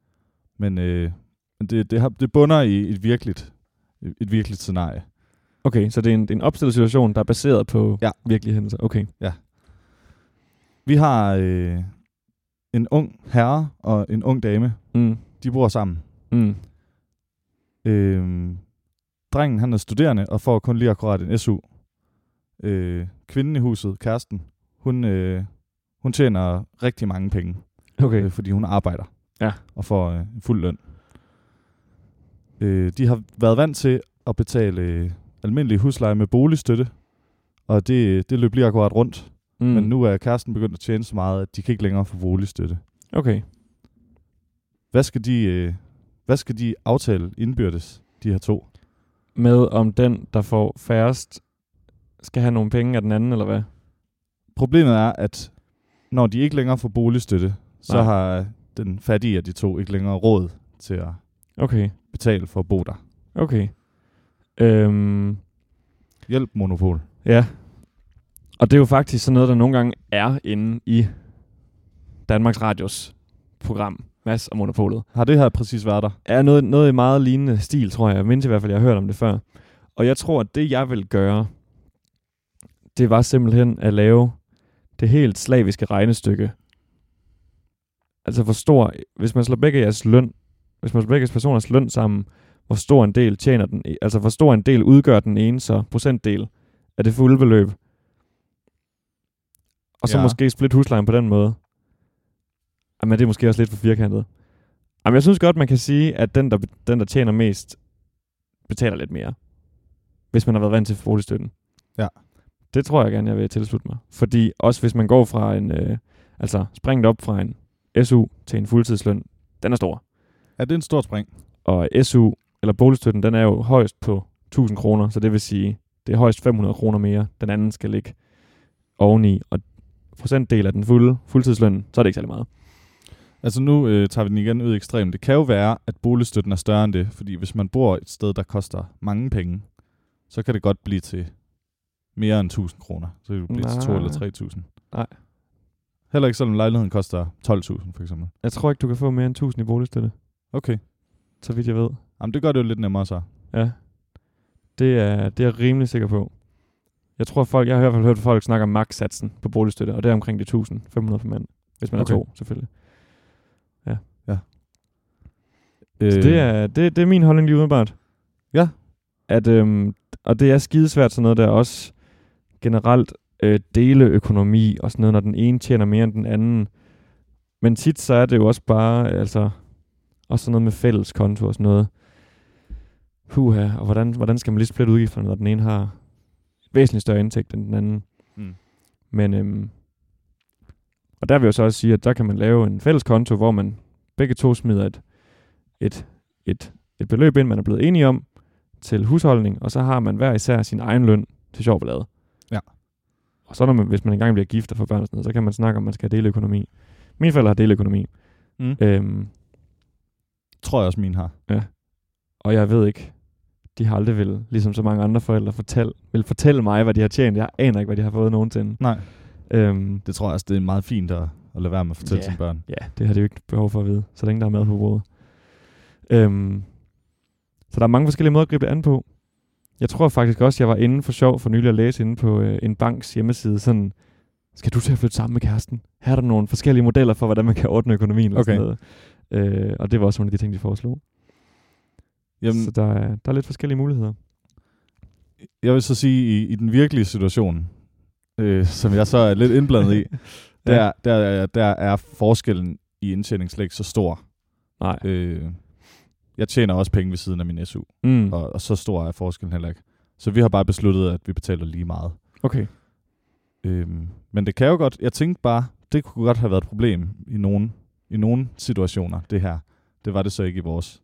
Men øh, men det, det, har, det bunder i et virkeligt, et virkeligt scenarie.
Okay, så det er en, det er en opstillet situation, der er baseret på
Ja.
ja. virkelige hændelser. Okay.
Vi har øh, en ung herre og en ung dame.
Mm,
De bor sammen.
mm,
Øh, drengen han er studerende og får kun lige akkurat en SU. Øh, kvinden i huset, kæresten, hun, øh, hun tjener rigtig mange penge,
okay.
øh, fordi hun arbejder
Ja.
og får øh, fuld løn. Øh, de har været vant til at betale øh, almindelig husleje med boligstøtte, og det, det løb lige akkurat rundt.
Mm,
Mm. Men nu er kæresten begyndt at tjene så meget, at de kan ikke længere få boligstøtte.
Okay.
Hvad skal de, øh, hvad skal de aftale indbyrdes, de her to?
Med om den, der får færrest, skal have nogle penge af den anden, eller hvad?
Problemet er, at når de ikke længere får boligstøtte, så
Nej.
har den fattige af de to ikke længere råd til at
Okay,
betale for at bo der.
okay. Øhm,
Hjælp monopol.
ja. Og det er jo faktisk sådan noget, der nogle gange er inde i Danmarks Radios program, Mads og Monopolet.
Har det her præcis været der?
er noget, noget i meget lignende stil, tror jeg. Jeg mindst i hvert fald, jeg har hørt om det før. Og jeg tror, at det, jeg vil gøre, det var simpelthen at lave det helt slaviske regnestykke. Altså, hvor stor... Hvis man slår begge jeres løn... Hvis man slår begge jeres personers løn sammen, hvor stor en del tjener den... e- Altså, hvor stor en del udgør den ene så procentdel af det fulde beløb. Og så
Ja.
ja. måske splitte huslejen på den måde. Jamen, det er måske også lidt for firkantet. Jamen, jeg synes godt, man kan sige, at den, der, den, der tjener mest, betaler lidt mere. Hvis man har været vant til boligstøtten.
Ja.
Det tror jeg gerne, jeg vil tilslutte mig. Fordi også hvis man går fra en... Øh, altså, springet op fra en SU til en fuldtidsløn, den er stor.
Er det en stor spring?
Og SU, eller boligstøtten, den er jo højst på 1000 kroner, så det vil sige, det er højst 500 kroner mere, den anden skal ligge oveni, og procentdel af den fulde fuldtidsløn, så er det ikke særlig meget.
Altså nu øh, tager vi den igen ud i ekstremen. Det kan jo være, at boligstøtten er større end det, fordi hvis man bor et sted, der koster mange penge, så kan det godt blive til mere end 1000 kroner. Så kan det blive til 2
Nej.
eller 3000.
Nej.
Heller ikke selvom lejligheden koster 12.000 for eksempel.
Jeg tror ikke, du kan få mere end 1000 i boligstøtte,
Okay.
så vidt jeg ved.
Jamen det gør det jo lidt nemmere så.
Ja. Det er, det er jeg rimelig sikker på. Jeg tror folk, jeg har i hvert fald hørt folk snakke om max-satsen på boligstøtte, og det er omkring de 1500 for mand, hvis man okay.
Okay.
er to, selvfølgelig.
Øh,
Så det er, det, det er min holdning lige umiddelbart.
Ja.
At, øhm, og det er skidesvært sådan noget der også generelt øh, deleøkonomi og sådan noget, når den ene tjener mere end den anden. Men tit så er det jo også bare, altså, også sådan noget med fælles konto og sådan noget. Huha, og hvordan, hvordan skal man lige splitte udgifterne, når den ene har væsentligt større indtægt end den anden.
Mm.
Men, øhm, og der vil jeg så også sige, at der kan man lave en fælles konto, hvor man begge to smider et, et, et, et beløb ind, man er blevet enige om, til husholdning, og så har man hver især sin egen løn til sjov ballade.
Ja.
Og så når man, hvis man engang bliver gift og får børn og sådan noget, så kan man snakke om, at man skal have deleøkonomi. Mine forældre har deleøkonomi.
Mm.
Øhm,
Tror jeg også, min har.
og jeg ved ikke, de har aldrig vil, ligesom så mange andre forældre, fortæl, vil fortælle mig, hvad de har tjent. Jeg aner ikke, hvad de har fået nogensinde.
Nej.
Øhm,
Det tror jeg også, det er meget fint at, at lade være med at fortælle
Ja.
sine børn.
Ja, det har de jo ikke behov for at vide, så længe der er mad på bordet. Øhm, så der er mange forskellige måder at gribe det an på. Jeg tror faktisk også, jeg var inde for sjov for nylig at læse inde på øh, en banks hjemmeside, sådan, skal du til at flytte sammen med kæresten? Her er der nogle forskellige modeller for, hvordan man kan ordne økonomien. Eller
Okay.
sådan noget. Øh, og det var også nogle af de ting, de foreslog. Jamen.
Jamen,
Så der er, der er lidt forskellige muligheder.
jeg vil så sige, i, i den virkelige situation, øh, som jeg så er lidt indblandet i, der, der, er- der er forskellen i indtjening slet ikke så stor.
Nej.
Øh, jeg tjener også penge ved siden af min SU,
Mm.
og, og så stor er forskellen heller ikke. Så vi har bare besluttet, at vi betaler lige meget.
Okay.
Øhm, men det kan jo godt, jeg tænkte bare, det kunne godt have været et problem i nogen, i nogen situationer, det her. Det var det så ikke i vores.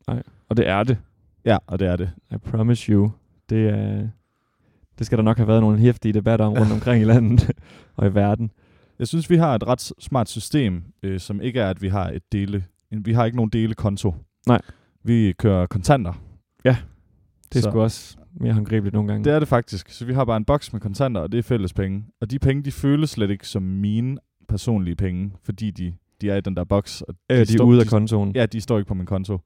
Og det er det.
Ja, og det er det.
I promise you. Det, er, det skal der nok have været nogle hæftige debatter om rundt omkring i landet og i verden.
Jeg synes, vi har et ret s- smart system, øh, som ikke er, at vi har et dele, en- vi har ikke nogen delekonto.
Nej.
Vi kører kontanter.
Det er
Så-
sgu også mere håndgribeligt nogle gange.
Det er det faktisk. Så vi har bare en boks med kontanter, og det er fælles penge. Og de penge, de føles slet ikke som mine personlige penge, fordi de, de er i den der boks. Og
øh, de er
står-
ude af kontoen.
Ja, de står ikke på min konto.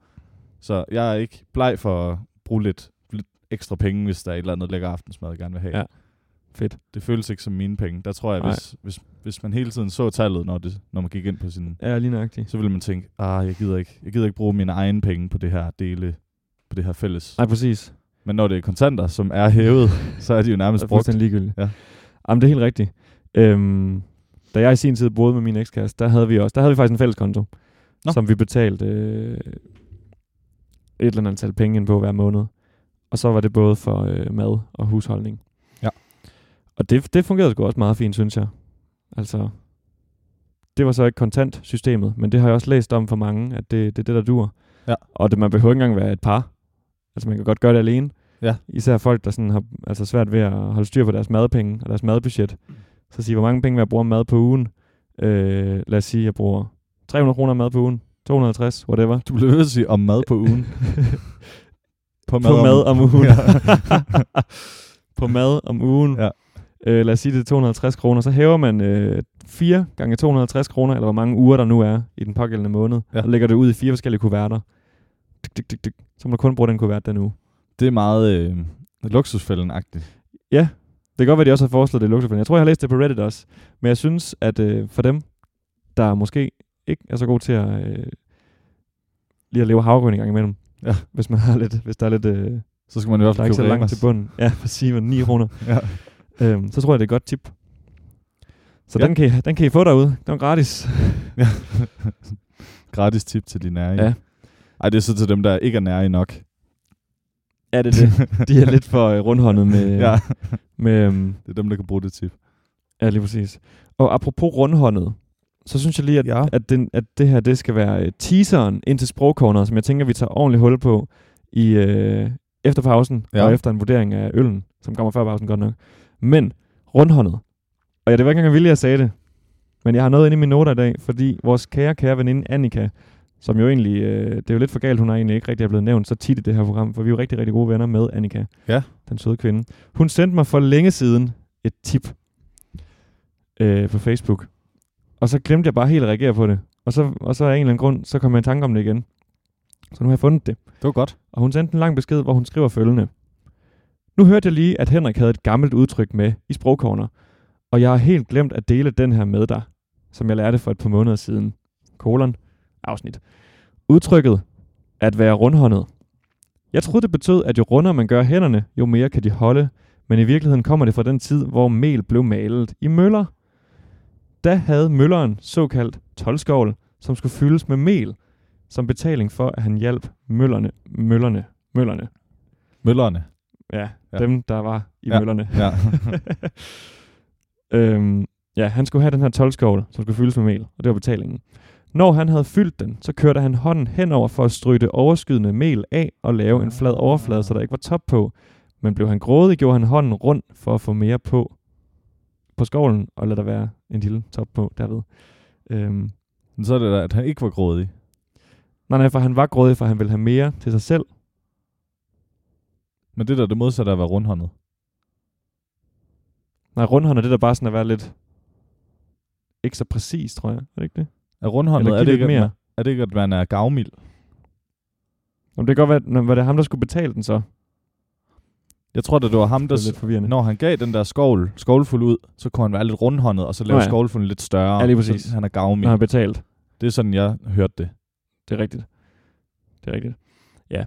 Så jeg er ikke bleg for at bruge lidt, lidt ekstra penge, hvis der er et eller andet lækker aftensmad, jeg gerne vil have.
Ja. Fedt.
Det føles ikke som mine penge. Der tror jeg,
Nej.
hvis, hvis, hvis man hele tiden så tallet, når, det, når man gik ind på sin...
Ja, lige nøjagtigt.
Så ville man tænke, ah, jeg gider ikke, jeg gider ikke bruge mine egne penge på det her dele, på det her fælles.
Nej, præcis.
Men når det er kontanter, som er hævet, så er de jo nærmest
er
brugt.
fuldstændig ligegyldigt.
Ja.
Jamen, det er helt rigtigt. Øhm, da jeg i sin tid boede med min ekskæreste, der havde vi også, der havde vi faktisk en fælles konto,
Nå.
Nå. som vi betalte øh, et eller andet antal penge ind på hver måned. Og så var det både for øh, mad og husholdning.
Ja.
Og det, det fungerede sgu også meget fint, synes jeg. Altså, det var så ikke kontantsystemet, men det har jeg også læst om for mange, at det, det er det, der dur.
Ja.
Og det, man behøver ikke engang være et par. Altså, man kan godt gøre det alene.
Ja.
Især folk, der sådan har altså svært ved at holde styr på deres madpenge og deres madbudget. Så sige, hvor mange penge vil jeg bruge om mad på ugen? Øh, lad os sige, jeg bruger 300 kroner om mad på ugen. 250, whatever.
Du blev ved at sige om mad på ugen.
På
på
mad om ugen.
Ja.
på mad om ugen.
Ja.
Øh, lad os sige, det er 250 kroner. Så hæver man øh, 4 gange 250 kroner, eller hvor mange uger der nu er i den pågældende måned,
Ja.
ja. og lægger det ud i fire forskellige kuverter. Dik, dik, dik, dik. Så må du kun bruge den kuvert den uge.
Det er meget øh, luksusfælden-agtigt.
Ja, det kan godt være, de også har foreslået det i luksusfælden. Jeg tror, jeg har læst det på Reddit også. Men jeg synes, at øh, for dem, der måske ikke er så gode til at, øh, lige at leve havregryn en gang imellem,
Ja.
hvis, man har lidt, hvis der er lidt... Øh, der
Så skal man i hvert
er
fald
ikke så
købe
langt
Remas.
til bunden. Ja, for sige 9 kroner.
Ja.
øhm, så tror jeg, det er et godt tip. Så
Ja.
ja. den, kan I, den kan I få derude. Den er gratis.
Gratis tip til de nære.
Ja.
Ej, det er så til dem, der ikke er nære nok.
Ja, det er det. De er lidt for øh, rundhåndet med...
Ja.
med øhm,
Det er dem, der kan bruge det tip.
ja, lige præcis. Og apropos rundhåndet, så synes jeg lige, at
Ja.
at, den, at det her det skal være øh, teaseren ind til sprogcorner, som jeg tænker, vi tager ordentligt hul på i øh, efter pausen,
Ja.
ja. og efter en vurdering af øllen, som kommer før pausen godt nok. Men rundhåndet. Og ja, det var ikke engang vildt, jeg sagde det. Men jeg har noget inde i mine noter i dag, fordi vores kære, kære veninde Annika, som jo egentlig, øh, det er jo lidt for galt, hun er egentlig ikke rigtig er blevet nævnt så tit i det her program, for vi er jo rigtig, rigtig gode venner med Annika,
Ja.
den søde kvinde. Hun sendte mig for længe siden et tip øh, på Facebook, og så glemte jeg bare helt at reagere på det. Og så, og så af en eller anden grund, så kom jeg i tanke om det igen. Så nu har jeg fundet det.
Det var godt.
Og hun sendte en lang besked, hvor hun skriver følgende. Nu hørte jeg lige, at Henrik havde et gammelt udtryk med i sprogkorner, og jeg har helt glemt at dele den her med dig, som jeg lærte for et par måneder siden. Kolon. Afsnit. Udtrykket. At være rundhåndet. Jeg troede, det betød, at jo rundere man gør hænderne, jo mere kan de holde, men i virkeligheden kommer det fra den tid, hvor mel blev malet i møller. Da havde mølleren såkaldt tolskovl, som skulle fyldes med mel, som betaling for, at han hjalp møllerne, møllerne, møllerne.
Møllerne.
Ja,
Ja.
ja. dem, der var i
Ja.
ja. møllerne.
Ja.
øhm, ja, han skulle have den her tolvskovle, som skulle fyldes med mel, og det var betalingen. Når han havde fyldt den, så kørte han hånden henover for at stryge det overskydende mel af og lave en flad overflade, så der ikke var top på. Men blev han grådig, gjorde han hånden rund for at få mere på på skovlen, og lad der være en lille top på derved. Øhm,
Men så er det da, at han ikke var grådig.
nej, nej, for han var grådig, for han ville have mere til sig selv.
Men det der, det modsatte af at være rundhåndet.
Nej, rundhånd er det, der bare sådan at være lidt ikke så præcis, tror jeg. Er det ikke det?
Er rundhåndet,
Eller
er
give
det,
lidt
ikke, mere.
mere.
er det ikke, at man er gavmild?
Om det kan godt være, at når- var det ham, der skulle betale den så?
Jeg tror, da det var ham,
Det er
der,
lidt forvirrende.
Når han gav den der skovl, skovlfuld ud, så kunne han være lidt rundhåndet, og så lave
Nå
ja.
ja.
skovlfulden lidt større.
Ja, lige præcis.
Så han er gavmig.
Når han har betalt.
Det er sådan, jeg hørte det.
Det er rigtigt. Det er rigtigt. Ja.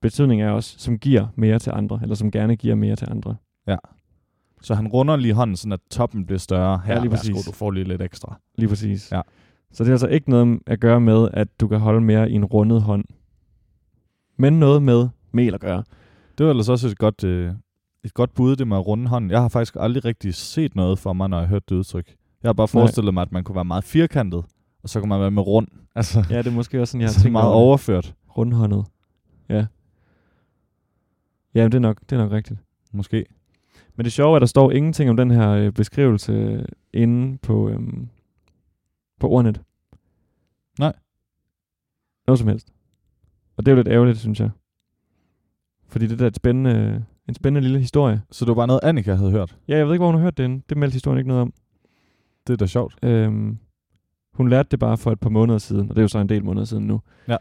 Betydning er også, som giver mere til andre, eller som gerne giver mere til andre.
Så han runder lige hånden, sådan at toppen bliver større. Her,
Ja, lige
værsgo,
præcis.
du får lige lidt ekstra.
Lige præcis.
Ja.
Så det er altså ikke noget at gøre med, at du kan holde mere i en rundet hånd. Men noget med mel at gøre.
Det var ellers også et godt, øh, et godt bud, det med at runde hånden. Jeg har faktisk aldrig rigtig set noget for mig, når jeg har hørt det udtryk. Jeg har bare
Nej.
forestillet mig, at man kunne være meget firkantet, og så kunne man være med rund. Altså,
Ja, det er måske også sådan,
ja,
jeg har
så
tænkt
meget
over det.
overført.
Rundhåndet. Ja. Ja, det er, nok, det er nok rigtigt.
Måske.
Men det sjove er, at der står ingenting om den her øh, beskrivelse øh, inde på, øhm, på ordnet.
Nej.
Noget som helst. Og det er jo lidt ærgerligt, synes jeg. Fordi det der er et spændende, en spændende lille historie.
Så det var bare noget, Annika havde hørt.
Ja, jeg ved ikke, hvor hun har hørt det inde. Det meldte historien ikke noget om.
Det er da sjovt.
Øhm, hun lærte det bare for et par måneder siden, og det er jo så en del måneder siden nu.
Ja.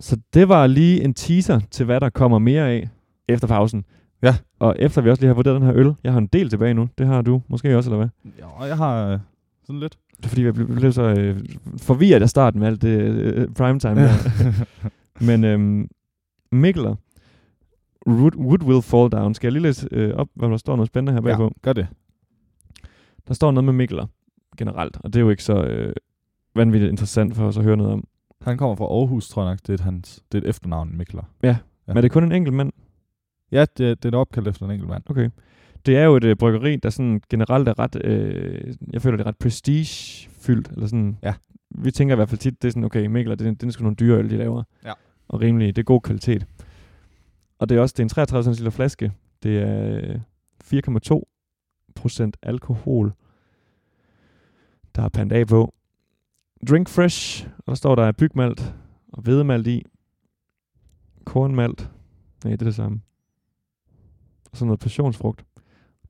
Så det var lige en teaser til, hvad der kommer mere af efter pausen.
Ja.
Og efter vi også lige har vurderet den her øl. Jeg har en del tilbage nu. Det har du måske også, eller hvad?
Ja, og jeg har øh, sådan lidt.
Det er fordi, jeg blev, blev så øh, forvirret af starten med alt det øh, primetime. Ja. Men øhm, Mikler, Wood, Wood Will Fall Down. Skal jeg lige læse øh, op, hvad der står noget spændende her bagpå?
ja, gør det.
Der står noget med Mikler generelt, og det er jo ikke så øh, vanvittigt interessant for os at høre noget om.
Han kommer fra Aarhus, tror jeg nok. Det er, et hans, det er et efternavn, Mikler. Ja.
Men er det kun en enkelt mand?
Ja, det, det er et opkald efter en enkelt mand.
Okay. Det er jo et øh, bryggeri, der sådan generelt er ret, øh, jeg føler det er ret prestigefyldt, eller sådan.
Ja.
Vi tænker i hvert fald tit, det er sådan, okay, Mikkel, det, er- det er sgu nogle dyre øl, de laver.
Ja.
Og rimelig, det er god kvalitet. Og det er også, det er en 33 cm flaske. Det er øh, 4,2 procent alkohol, der er pandt af på. Drink fresh, og der står der er bygmalt og hvedemalt i. Kornmalt. Nej, det er det samme. Og så noget passionsfrugt.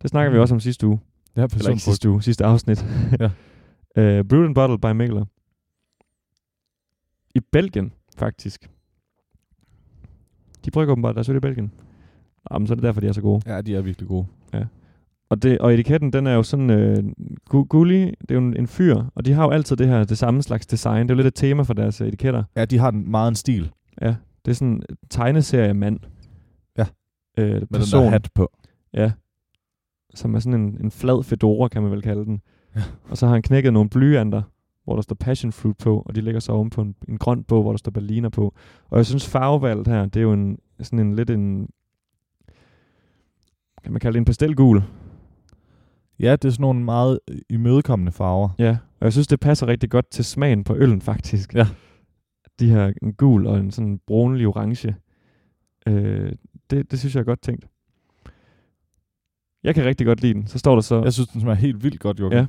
Det snakker vi også om sidste uge.
Ja,
Eller ikke
personligt.
sidste uge, sidste afsnit.
Ja.
uh, Brewed and Bottled by Mikler. I Belgien, faktisk. De brygger åbenbart deres øl i Belgien. Jamen, så er det derfor, de er så gode.
Ja, de er virkelig gode.
Og, det, og etiketten, den er jo sådan øh, gu- gullig. Det er jo en, en fyr, og de har jo altid det her, det samme slags design. Det er jo lidt et tema for deres øh, etiketter.
Ja, de har en, meget en stil
Ja, det er sådan en tegneseriemand.
Ja.
Øh,
med Person. den der
person.
hat på.
Ja. Som er sådan en, en flad fedora, kan man vel kalde den. Og så har han knækket nogle blyanter, hvor der står passion fruit på, og de ligger så oven på en, en grøn bog, hvor der står berliner på. Og jeg synes farvevalget her, det er jo en, sådan en lidt en, kan man kalde det en pastelgul?
Ja, det er sådan nogle meget øh, imødekommende farver.
Ja. Og jeg synes, det passer rigtig godt til smagen på øllen, faktisk.
Ja.
De her en gul og en sådan brunlig orange. Øh, det, det synes jeg er godt tænkt. Jeg kan rigtig godt lide den. Så står der så...
Jeg synes, den smager helt vildt godt, Jokke.
Ja.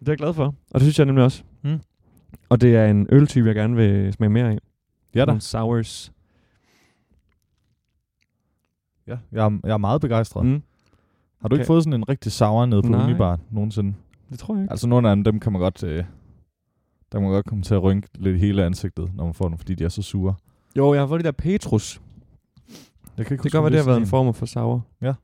Det er jeg glad for, og det synes jeg nemlig også.
Mm.
Og det er en øltype, jeg gerne vil smage mere af.
ja da.
Nogle sours.
Ja. Jeg, er, jeg er meget begejstret. Mm.
Mm.
Har du ikke
Kan-
fået sådan en rigtig sour nede på
Nej.
Unibar nogensinde?
Det tror jeg ikke.
Altså nogle af dem, dem kan man godt... Øh, der kan man godt komme til at rynke lidt i hele ansigtet, når man får dem, fordi de er så sure.
Jo, jeg har fået det der Petrus.
Jeg kan ikke
Det kan godt være, det har været en form for sour.
Ja.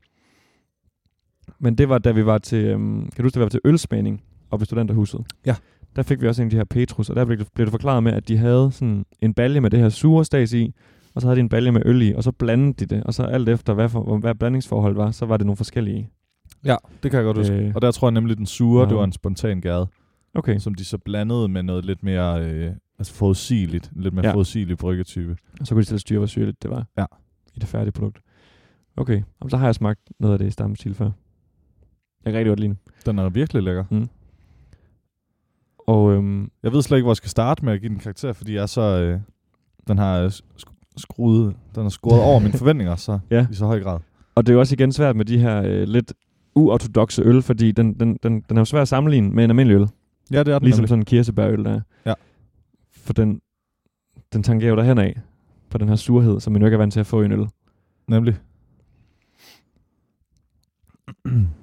Men det var, da vi var til, øhm, kan du huske, da vi var til ølsmagning oppe i studenterhuset?
Ja.
Der fik vi også en af de her Petrus, og der blev det, blev det forklaret med, at de havde sådan en balje med det her sure stas i, og så havde de en balje med øl i, og så blandede de det, og så alt efter, hvad, for, hvad blandingsforhold var, så var det nogle forskellige.
Ja, det kan jeg godt huske.
Øh.
Øh. Og der tror jeg nemlig, den sure,
Nå.
det var en spontan gade,
Okay.
som de så blandede med noget lidt mere øh, altså forudsigeligt, en lidt mere
Ja.
ja. forudsigelig bryggetype.
Og så kunne de selv styre, hvor syrligt det var.
Ja.
I det færdige produkt. Okay, Jamen, så har jeg smagt noget af det i stammestil før. Jeg kan rigtig godt lide den.
Den er virkelig lækker.
Og øhm,
Jeg ved slet ikke, hvor jeg skal starte med at give den karakter, fordi jeg er så... Øh, den har øh, sk- skruet, den har skruet over mine forventninger så
Ja.
ja. i så høj grad.
Og det er jo også igen svært med de her øh, lidt uortodoxe øl, fordi den, den, den, den er jo svær at sammenligne med en almindelig øl.
Ja, det er den
Ligesom
nemlig.
sådan en kirsebærøl, der er.
Ja.
For den, den tangerer jo derhen af på den her surhed, som man jo ikke er vant til at få i en øl.
Nemlig.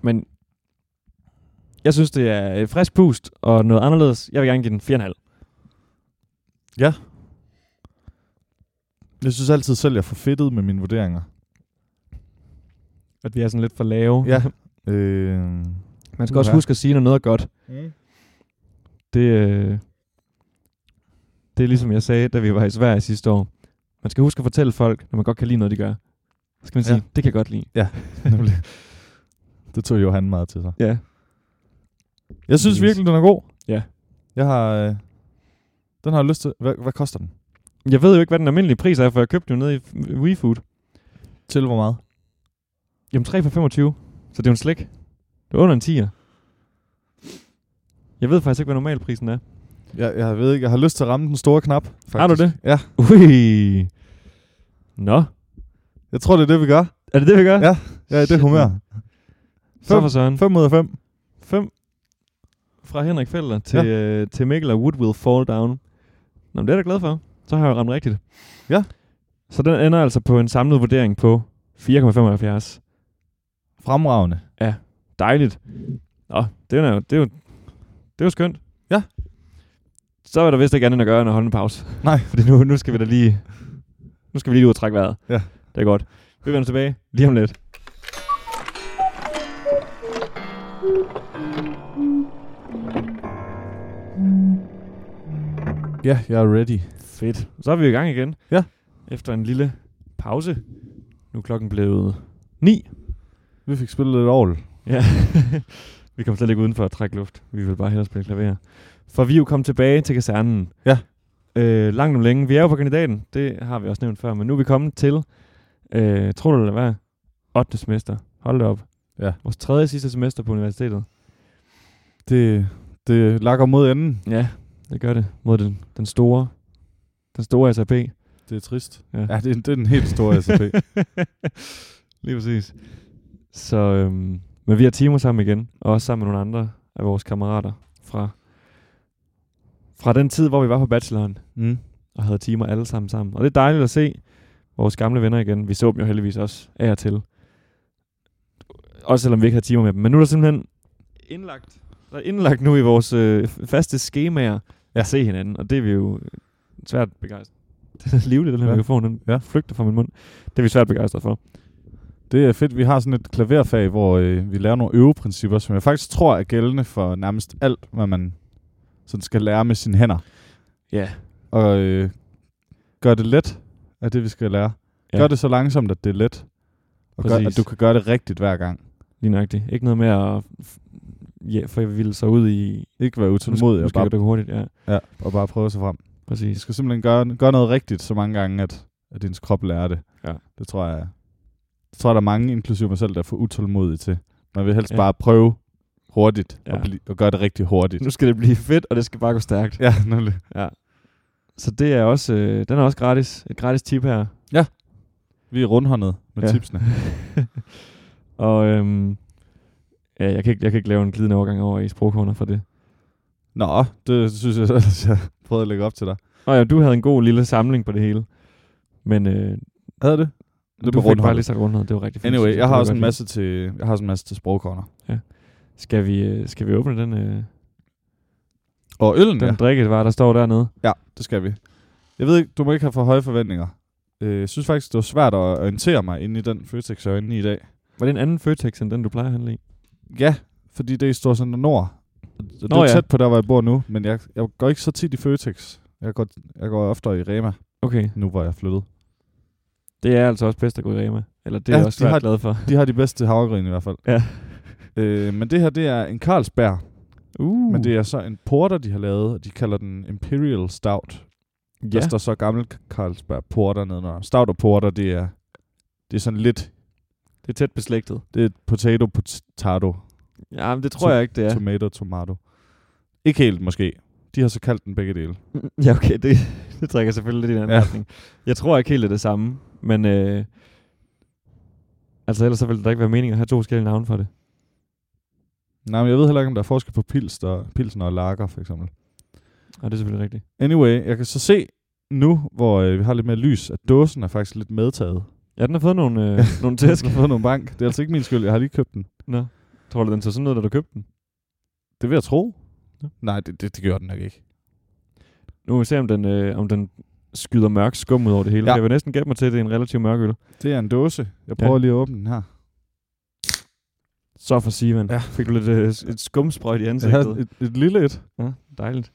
Men jeg synes, det er et frisk pust og noget anderledes. Jeg vil gerne give den 4,5.
Jeg synes altid selv, jeg er for fedtet med mine vurderinger.
At vi er sådan lidt for lave.
Ja. Øh,
Man skal også
Uha.
huske at sige, når noget er godt.
mm.
Det, øh, det er ligesom jeg sagde, da vi var i Sverige sidste år. Man skal huske at fortælle folk, når man godt kan lide noget, de gør. Så skal man sige,
Ja.
ja. det kan jeg godt lide.
Nemlig. Det tog Johan meget til sig.
Ja.
Jeg synes
Yes.
virkelig, den er god.
Ja.
Jeg har... Øh, den har jeg lyst til. Hvad, hvad koster den?
Jeg ved jo ikke, hvad den almindelige pris er, for jeg købte den jo nede i F- WeFood.
Til hvor meget?
Jamen 3 for 25, så det er jo en slik. Det er under en 10'er. Jeg ved faktisk ikke, hvad normalprisen er.
Jeg, jeg ved ikke. Jeg har lyst til at ramme den store knap. Faktisk.
Har du det?
Ja.
Ui. Nå.
Jeg tror, det er det, vi gør.
Er det det, vi gør?
Ja. Ja, i det
Shit,
humør.
mand. Så for Søren.
5 ud af 5.
5 fra Henrik Felder til, ja. øh, til Mikkel og Wood Will Fall Down. Nå, men det er jeg da glad for. Så har jeg jo ramt rigtigt.
Ja.
Så den ender altså på en samlet vurdering på 4,75.
Fremragende.
Dejligt. Nå, det er jo, det er jo, det er jo skønt.
Ja.
Så er der vist ikke andet at gøre end at holde en pause.
Nej.
Fordi nu, nu skal vi da lige, nu skal vi lige ud og trække vejret.
Ja.
Det er godt. Vi vender tilbage lige om lidt.
Ja, jeg er ready.
Fedt. Så er vi i gang igen.
Ja.
Efter en lille pause. Nu er klokken blevet 9.
Vi fik spillet lidt ovl.
Ja. vi kom slet ikke uden for at trække luft. Vi vil bare hellere spille klaver. For vi er jo kommet tilbage til kasernen.
Ja.
Øh, langt om længe. Vi er jo på kandidaten. Det har vi også nævnt før. Men nu er vi kommet til, øh, tror du det eller hvad? 8. semester. Hold da op.
Ja.
Vores tredje sidste semester på universitetet.
Det, det lakker mod enden.
Ja, det gør det. Mod den, den store, den store SAP.
Det er trist.
Ja.
Ja, det, er- det er en helt stor SAP.
Lige præcis. Så, øhm, men vi har timer sammen igen, og også sammen med nogle andre af vores kammerater fra, fra den tid, hvor vi var på bacheloren,
Mm.
og havde timer alle sammen sammen. Og det er dejligt at se vores gamle venner igen. Vi så dem jo heldigvis også af og til. Også selvom vi ikke havde timer med dem. Men nu er der simpelthen indlagt, der er indlagt nu i vores øh, faste skemaer ja.
Ja.
at se hinanden. Og det er vi jo øh, svært begejstret. Den er livlig, den her ja.
Ja.
mikrofon. Den ja.
Ja.
flygter fra min mund. Det er vi svært begejstret for.
Det er fedt. Vi har sådan et klaverfag, hvor øh, vi lærer nogle øveprincipper, som jeg faktisk tror er gældende for nærmest alt, hvad man sådan skal lære med sine hænder.
Ja.
Og øh, gør det let er det, vi skal lære.
Ja.
Ja. Gør det så langsomt, at det er let. Og gør,
Præcis.
at du kan gøre det rigtigt hver gang.
Lige nøjagtigt. Ikke noget med at f- ja, for jeg ville så ud i...
Ikke være
Nu skal,
utålmodig
nu
og
skal jeg
bare,
gå hurtigt, ja.
ja, og bare prøve sig frem. Vi
Præcis.
skal simpelthen gøre, gøre noget rigtigt så mange gange, at, at din krop lærer det.
Ja.
Det tror jeg, det tror jeg, der er mange, inklusive mig selv, der er for utålmodige til. Man vil helst
Ja.
ja. bare prøve hurtigt ja.
Ja.
og, bli- og gøre det rigtig hurtigt.
Nu skal det blive fedt, og det skal bare gå stærkt.
Ja, nemlig.
Så det er også, øh, den er også gratis. Et gratis tip her.
Vi er rundhåndet med
Ja.
ja. tipsene.
Og øhm, ja, jeg, kan ikke, jeg kan ikke lave en glidende overgang over i sprogkorner for det.
Nå, det synes jeg ellers, jeg prøvede at lægge op til dig.
Nå ja, du havde en god lille samling på det hele. Men øh,
Havde det? Det
du
blev
fik bare lige
rundhåndet.
så rundhed. Det var rigtig fint.
Anyway,
Det
jeg har
var
også en
godt
masse til, jeg har også en masse til sprogkorner.
lide. Skal vi, øh, skal vi åbne den, øh,
Og øllen,
den
ja.
ja. drikkevar, der står dernede?
ja. det skal vi. Jeg ved ikke, du må ikke have for høje forventninger. Øh, Jeg synes faktisk, det var svært at orientere mig inde i den Føtex, jeg var inde i i dag.
Var det en anden Føtex, end den, du plejer at handle i?
Ja, fordi det er i Storcenter Nord. Så Det
Nå,
Nå, er
ja.
tæt på der, hvor jeg bor nu, men jeg, jeg går ikke så tit i Føtex. Jeg går, jeg går oftere i Rema,
Okay.
nu hvor jeg er flyttet.
Det er altså også bedst at gå i Rema. Eller det er
Ja,
jeg også
de
svært
har-
glad for.
De har de bedste havregryn i hvert fald.
Ja.
Øh, men det her, det er en Carlsberg.
Uh.
Men det er så en porter, de har lavet, og de kalder den Imperial Stout. Ja. Der
Uh, ja.
står så gammel Carlsberg Porter nedenunder. Stout og porter, det er, det er sådan lidt...
det er tæt beslægtet.
Det er potato, potato,
Ja, men det tror jeg ikke, det
ja.
er.
tomato, tomato. Ikke helt, måske. De har så kaldt den begge dele.
Ja, okay, det, det trækker selvfølgelig lidt i en anden
Ja.
ja. retning. Jeg tror ikke helt, det er det samme, men øh, altså ellers så ville det da ikke være meningen at have to forskellige navne for det.
Nej, men jeg ved heller ikke, om der er forskel på pils og, pilsen og lager, for eksempel.
Og det er selvfølgelig rigtigt.
Anyway, jeg kan så se nu, hvor øh, vi har lidt mere lys, at dåsen er faktisk lidt medtaget.
Ja, den har fået nogle, øh, nogle tæsk.
Jeg har fået nogle bank. Det er altså ikke min skyld, jeg har lige købt den.
Nå. Tror du, den så sådan ud, da du købte den?
Det vil jeg tro.
Ja.
Nej, det, det, det gør den nok ikke.
Nu må vi se, om den, øh, om den skyder mørk skum ud over det hele.
Ja.
Ja. Jeg vil næsten gætte mig til, at det er en relativt mørk øl.
Det er en dåse. Jeg prøver
Ja.
ja. lige at åbne den her.
Så for Sivan.
Ja.
Ja. Fik du lidt øh, s- et skumsprøjt i
Jeg
ansigtet?
havde et, et lille et.
Ja, dejligt.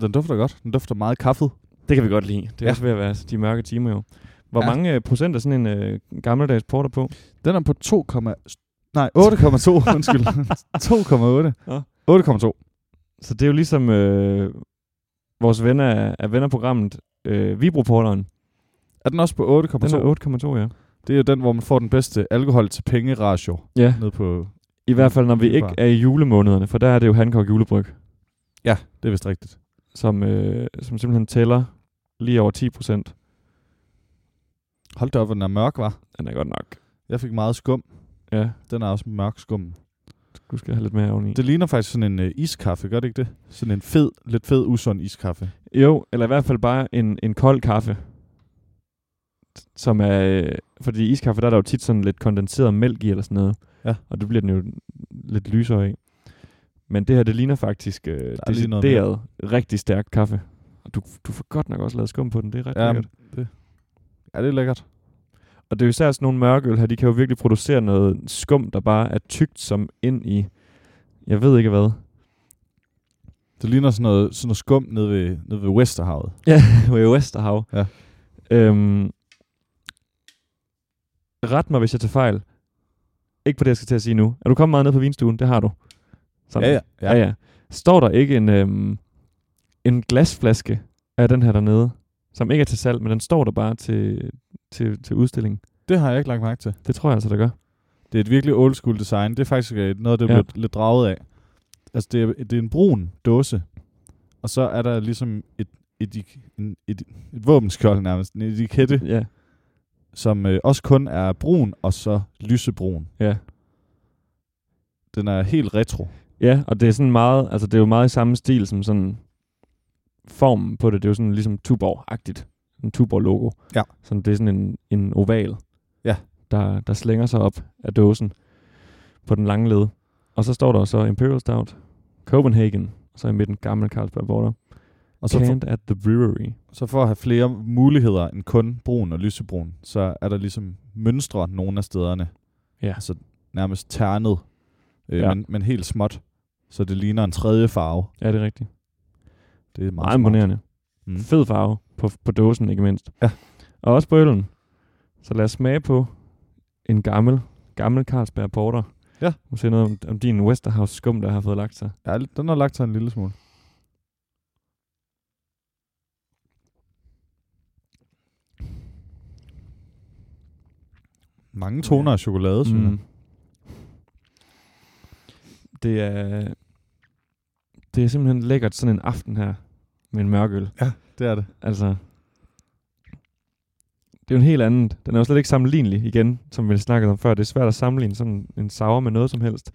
Den dufter godt. Den dufter meget kaffet.
Det kan vi godt lide. Det er
Ja.
ja. også ved at være de mørke timer jo. Hvor
Ja.
ja. mange øh, procent er sådan en øh, gammeldags porter på?
Den er på 2, nej 8,2 undskyld. 2,8.
Ja.
8,2.
Så det er jo ligesom øh, vores venner af, af vennerprogrammet, øh, Vibroporteren.
Er den også på 8,2?
Den er 8,2, ja.
Det er jo den, hvor man får den bedste alkohol til penge ratio.
Ja,
Nede på...
i hvert fald når vi ikke er i julemånederne, for der er det jo Hancock julebryg,
Ja, det er vist rigtigt.
som, øh, som simpelthen tæller lige over 10 procent.
Hold da op, hvor den er mørk, var.
Den er godt nok.
Jeg fik meget skum.
Ja,
Den er også mørk skum.
du skal have lidt mere oveni.
Det ligner faktisk sådan en øh, iskaffe, gør det ikke det? Sådan en fed, lidt fed, usund iskaffe.
Jo, eller i hvert fald bare en, en kold kaffe. Som er... øh, Fordi i iskaffe, der er der jo tit sådan lidt kondenseret mælk i eller sådan noget.
Ja.
Og det bliver den jo lidt lysere af. Men det her, det ligner faktisk øh,
noget
decideret rigtig stærk kaffe. Og du, du får godt nok også lavet skum på den, det er ret ja, lækkert.
det. Ja, det er lækkert.
Og det er jo især sådan nogle mørkeøl her, de kan jo virkelig producere noget skum, der bare er tykt som ind i... Jeg ved ikke hvad.
Det ligner sådan noget, sådan noget skum nede ved, nede ved Westerhavet.
Ja, ved Westerhav.
Ja.
Øhm, ret mig, hvis jeg tager fejl. Ikke på det, jeg skal til at sige nu. Er du kommet meget ned på vinstuen? Det har du.
ja.
ja, ja. Står der ikke en, øhm, en glasflaske af den her dernede, som ikke er til salg, men den står der bare til, til, til udstilling.
Det har jeg ikke lagt mærke til.
Det tror jeg altså, der gør.
Det er et virkelig old school design. Det er faktisk øh, noget, det er
Ja.
blevet lidt draget af. Altså, det er, det er en brun dåse, og så er der ligesom et, et, et, et, et, et våbenskjold nærmest, en etikette,
Ja,
som øh, også kun er brun, og så lysebrun.
ja.
Den er helt retro.
Ja, og det er sådan meget, altså det er jo meget i samme stil som sådan formen på det. Det er jo sådan ligesom Tuborg-agtigt. En Tuborg-logo.
Ja.
Så det er sådan en, en oval,
Ja.
der, der slænger sig op af dåsen på den lange led. Og så står der så Imperial Stout, Copenhagen, og så i midten gammel Carlsberg Border.
Og så, for,
Canned at the Brewery.
så for at have flere muligheder end kun brun og lysebrun, så er der ligesom mønstre nogle af stederne.
Ja.
Altså nærmest ternet, øh, ja.
Ja.
men, men helt småt. Så det ligner en tredje farve.
Ja, det er rigtigt.
Det er meget,
Meget
smart.
imponerende.
Mm.
Mm. Fed farve på, på dåsen, ikke mindst.
Ja.
Og også på øllen. Så lad os smage på en gammel, gammel Carlsberg Porter.
Ja.
Nu siger noget om, om din Westerhouse skum, der har fået lagt sig.
Ja, den har lagt sig en lille smule. Mange toner af chokolade, synes mm. jeg.
Det er, det er simpelthen lækkert sådan en aften her med en mørkøl.
Det er det.
Altså, det er jo en helt anden. Den er jo slet ikke sammenlignelig igen, som vi snakkede om før. Det er svært at sammenligne sådan en sauer med noget som helst.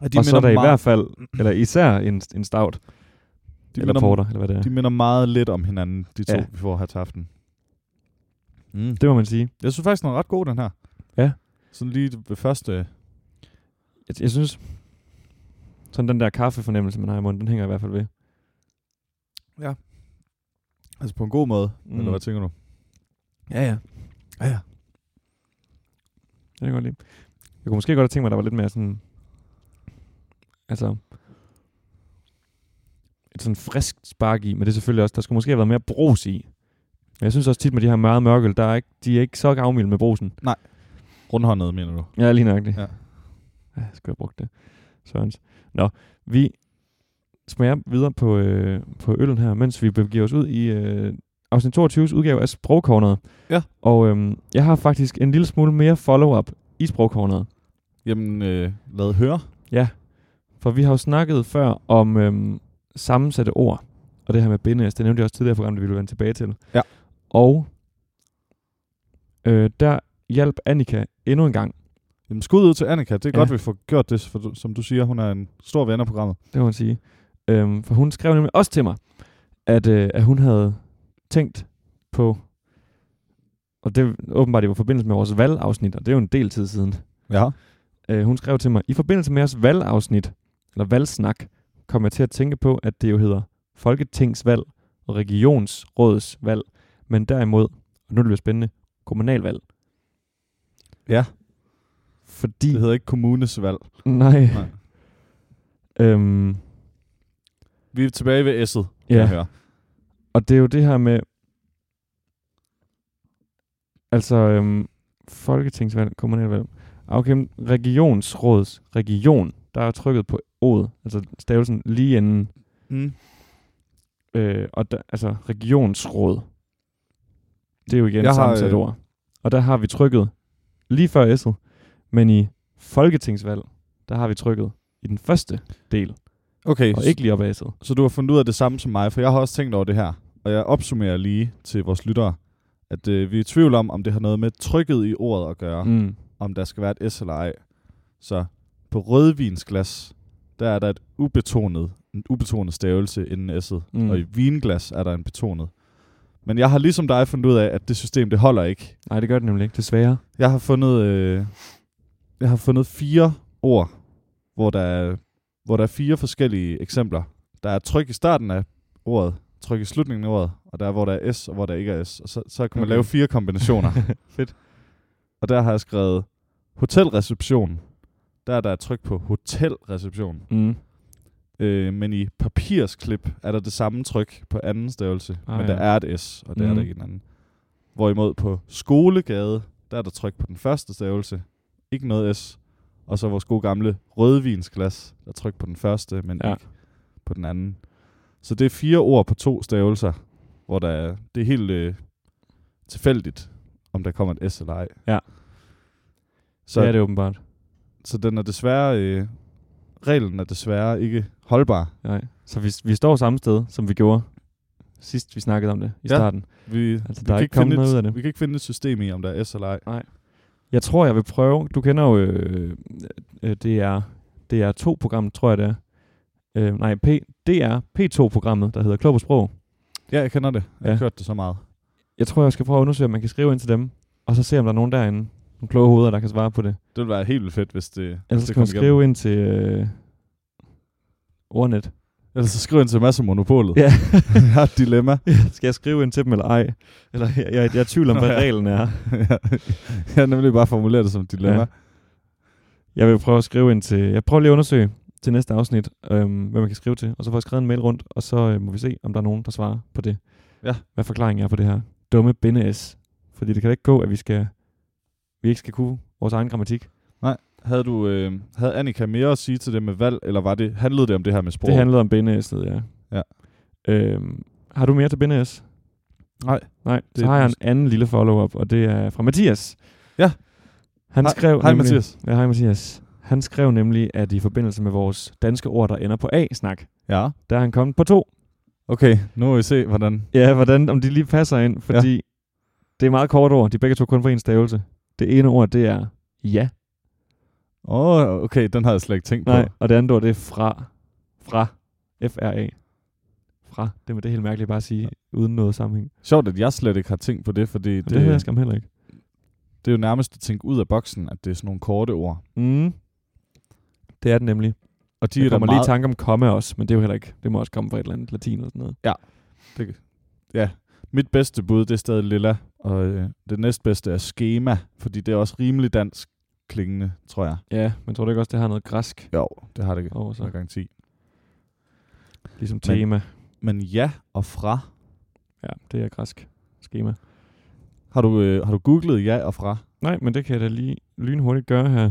Og,
De og så er der i hvert fald, eller især en, en stout,
de,
eller
minder,
porter, eller hvad det er.
de minder meget lidt om hinanden, de to, ja.
Ja.
vi får her til aften. Mm.
Det må man sige.
Jeg synes faktisk, den er ret god, den her.
Ja.
Sådan lige ved første...
Jeg, jeg synes, sådan den der kaffefornemmelse, man har i munden, den hænger i hvert fald ved.
Altså på en god måde, mm.
Mm.
eller hvad tænker du?
Ja, ja.
Ja, ja.
Det kan jeg godt lide. Jeg kunne måske godt have tænkt mig, at der var lidt mere sådan... Altså... Et sådan frisk spark i, men det er selvfølgelig også... Der skulle måske have været mere brus i. Men jeg synes også tit med de her meget mørkel, der er ikke, de er ikke så gavmilde med brusen.
Rundhåndet, mener du?
Ja, lige nøjagtigt.
Ja.
Ja. ja jeg skulle have brugt det. Sørens. Nå, vi smager videre på, øh, på øllen her, mens vi begiver os ud i øh, afsnit 22's udgave af Sprogkornet.
Ja.
Og øhm, jeg har faktisk en lille smule mere follow-up i Sprogkornet.
Jamen, øh, lad høre.
For vi har jo snakket før om øhm, sammensatte ord, og det her med bindes, det nævnte jeg også tidligere i programmet, det vi ville vende tilbage til.
Ja.
Og øh, der hjalp Annika endnu en gang,
Jamen, skud ud til Annika. Det er ja.
Ja.
godt, vi får gjort det, for, du- som du siger. Hun er en stor ven af programmet.
det må man sige. Øhm, for hun skrev nemlig også til mig, at, øh, at hun havde tænkt på, og det åbenbart det var i forbindelse med vores valgafsnit, og det er jo en del tid siden,
Ja.
Øh, hun skrev til mig, i forbindelse med jeres valgafsnit, eller valgsnak, kom jeg til at tænke på, at det jo hedder Folketingsvalg og Regionsrådsvalg, men derimod, og nu er det bliver spændende, kommunalvalg.
Ja.
fordi...
Det hedder ikke kommunesvalg.
Nej.
Nej.
Øhm,
Vi er tilbage ved S'et, kan
Ja.
jeg høre.
Og det er jo det her med, altså øhm, folketingsvalg, kommunalvalg, okay, men regionsråds, region, der er trykket på O'et, altså stavelsen lige inden,
Mm.
øh, og der, altså regionsråd, det er jo igen
Jeg
et
har,
sammensat
øh,
ord. Og der har vi trykket lige før S'et, men i folketingsvalg, der har vi trykket i den første del,
Okay,
og ikke lige op ad S'et.
Så du har fundet ud af det samme som mig, for jeg har også tænkt over det her. Og jeg opsummerer lige til vores lyttere, at øh, vi er i tvivl om, om det har noget med trykket i ordet at gøre, mm.
Mm.
om der skal være et S eller ej. Så på rødvinsglas, der er der et ubetonet, en ubetonet stavelse inden S'et, mm.
Mm.
og i vinglas er der en betonet. Men jeg har ligesom dig fundet ud af, at det system, det holder ikke.
Nej, det gør det nemlig ikke, desværre.
Jeg har fundet, øh, jeg har fundet fire ord, hvor der, er, hvor der er fire forskellige eksempler. Der er tryk i starten af ordet, tryk i slutningen af ordet, og der er, hvor der er S, og hvor der ikke er S. Og så, så kan man
Okay.
lave fire kombinationer.
Fedt.
Og der har jeg skrevet hotelreception. Der er der et tryk på hotelreception.
Mm.
Øh, men i papirsklip er der det samme tryk på anden stavelse, ah,
Ah,
men
ja.
der er et S, og der mm. er
Mhm.
der ikke en anden. Hvorimod på skolegade, der er der tryk på den første stavelse, ikke noget S. Og så vores gode gamle rødvinsglas, der er tryk på den første, men ja.
Ja.
ikke på den anden. Så det er fire ord på to stavelser, hvor der er, det er helt øh, tilfældigt, om der kommer et S eller ej.
Ja.
Så,
det er det åbenbart.
så den er desværre, øh, reglen er desværre ikke holdbar.
Nej. Så vi, vi står samme sted, som vi gjorde sidst, vi snakkede om det i
Ja.
ja. starten.
Vi,
Altså,
vi
der er
kan
ikke
finde
kommet noget
et,
ud af det.
Vi kan ikke finde et system i, om der er S eller ej.
Jeg tror, jeg vil prøve. Du kender jo øh, øh, DR, DR2-programmet, tror jeg det er. Øh, nej, P, DR P2-programmet, der hedder Klog på Sprog.
Ja, jeg kender det. Jeg har
Ja.
hørt det så meget.
Jeg tror, jeg skal prøve at undersøge, om man kan skrive ind til dem, og så se, om der er nogen derinde, nogle kloge hoveder, der kan svare på det.
Det ville være helt vildt fedt, hvis det, hvis
Ellers
det
kan man skrive ind til øh, ordnet.
Ellers så skriv ind til masser monopolet.
Ja.
jeg har et dilemma.
skal jeg skrive ind til dem, eller ej? Eller, jeg, jeg, jeg er i tvivl om,
Nå,
hvad
ja.
reglen er.
jeg har nemlig bare formuleret det som et dilemma.
Ja. Jeg vil prøve at skrive ind til... Jeg prøver lige at undersøge til næste afsnit, øhm, hvad man kan skrive til. Og så får jeg skrevet en mail rundt, og så øh, må vi se, om der er nogen, der svarer på det.
Ja.
Hvad forklaringen er på det her dumme binde-s. Fordi det kan da ikke gå, at vi skal vi ikke skal kunne vores egen grammatik.
Havde, du, øh, havde Annika mere at sige til det med valg, eller var det, handlede det om det her med sprog?
Det handlede om binde-s'et, ja.
Ja.
Øhm, har du mere til binde-s?
Nej.
Nej,
Det
det
er
så har jeg
den-
en anden lille follow-up, og det er fra Mathias.
Ja.
Han
Hej-
skrev
hej,
nemlig,
Mathias.
Ja, hej Mathias. Han skrev nemlig, at i forbindelse med vores danske ord, der ender på A-snak,
Ja.
der er han kommet på to.
Okay, nu må vi se, hvordan...
Ja, hvordan, om de lige passer ind, fordi ja. det er meget kort ord. De er begge to kun for en stavelse. Det ene ord, det er ja.
Åh, oh, okay, den havde jeg slet ikke tænkt
Nej,
på.
og det andet ord, det er fra. Fra. F-R-A. Fra. Det er det er helt mærkeligt bare at sige, uden noget sammenhæng.
Sjovt, at jeg slet ikke har tænkt på det, fordi
Det, det hører jeg skam heller ikke.
det er jo nærmest at tænke ud af boksen, at det er sådan nogle korte ord.
Mm. Det er det nemlig.
Og de
De
er
Der
da
kommer lige i
meget-
tanke om komme også, men det er jo heller ikke. Det må også komme fra et eller andet latin eller sådan noget.
Mit bedste bud, det er stadig lilla, og øh, det næstbedste er schema, fordi det er også rimelig dansk klingende, tror jeg.
Ja, men tror du ikke også, det har noget græsk
Jo, det har det ikke.
over
Så er
sig?
garanti.
Ligesom
Men-
tema.
Men ja og fra.
Ja, det er græsk skema.
Har du, øh, har du googlet ja og fra?
Nej, men det kan jeg da lige lynhurtigt gøre her.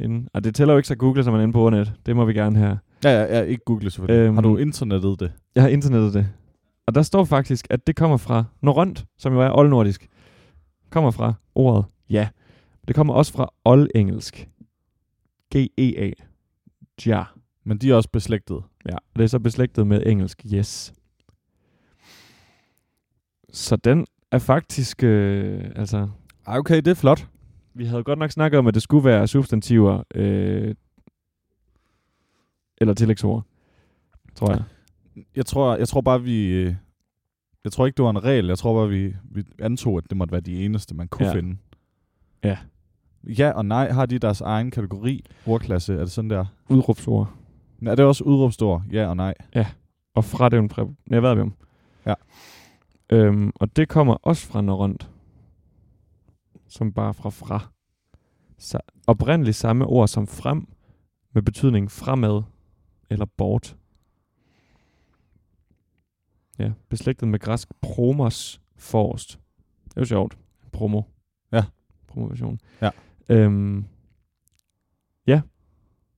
Inden. Og det tæller jo ikke så Google, som man er inde på ordnet. Det må vi gerne have.
Ja, ja, ja ikke googlet selvfølgelig. Øhm.
Øhm.
Har du internettet det?
Jeg har internettet det. Og der står faktisk, at det kommer fra norrønt, som jo er oldnordisk. Kommer fra ordet ja. Det kommer også fra oldengelsk. G-E-A. Ja.
Men de er også beslægtet.
Ja, og det er så beslægtet med engelsk yes. Så den er faktisk, øh, altså,
Ej, okay, det er flot.
Vi havde godt nok snakket om, at det skulle være substantiver øh, eller tillægsord, tror jeg.
Jeg tror, jeg tror bare, vi... øh, Jeg tror ikke, det var en regel. Jeg tror bare, vi, vi antog, at det måtte være de eneste, man kunne ja.
Ja.
finde.
Ja.
Ja og nej, har de deres egen kategori? Ordklasse, er det sådan der?
Udråbsord.
Er det også udråbstor? Ja og nej.
Og fra det er jo en præ- Ja, hvad er vi om?
Ja.
Øhm, og det kommer også fra norrønt. Som bare fra fra. sa- oprindeligt samme ord som frem, med betydning fremad eller bort. Ja, beslægtet med græsk promos forrest. Det er jo sjovt. Promo.
Ja.
Promotion.
Ja.
Øhm, ja.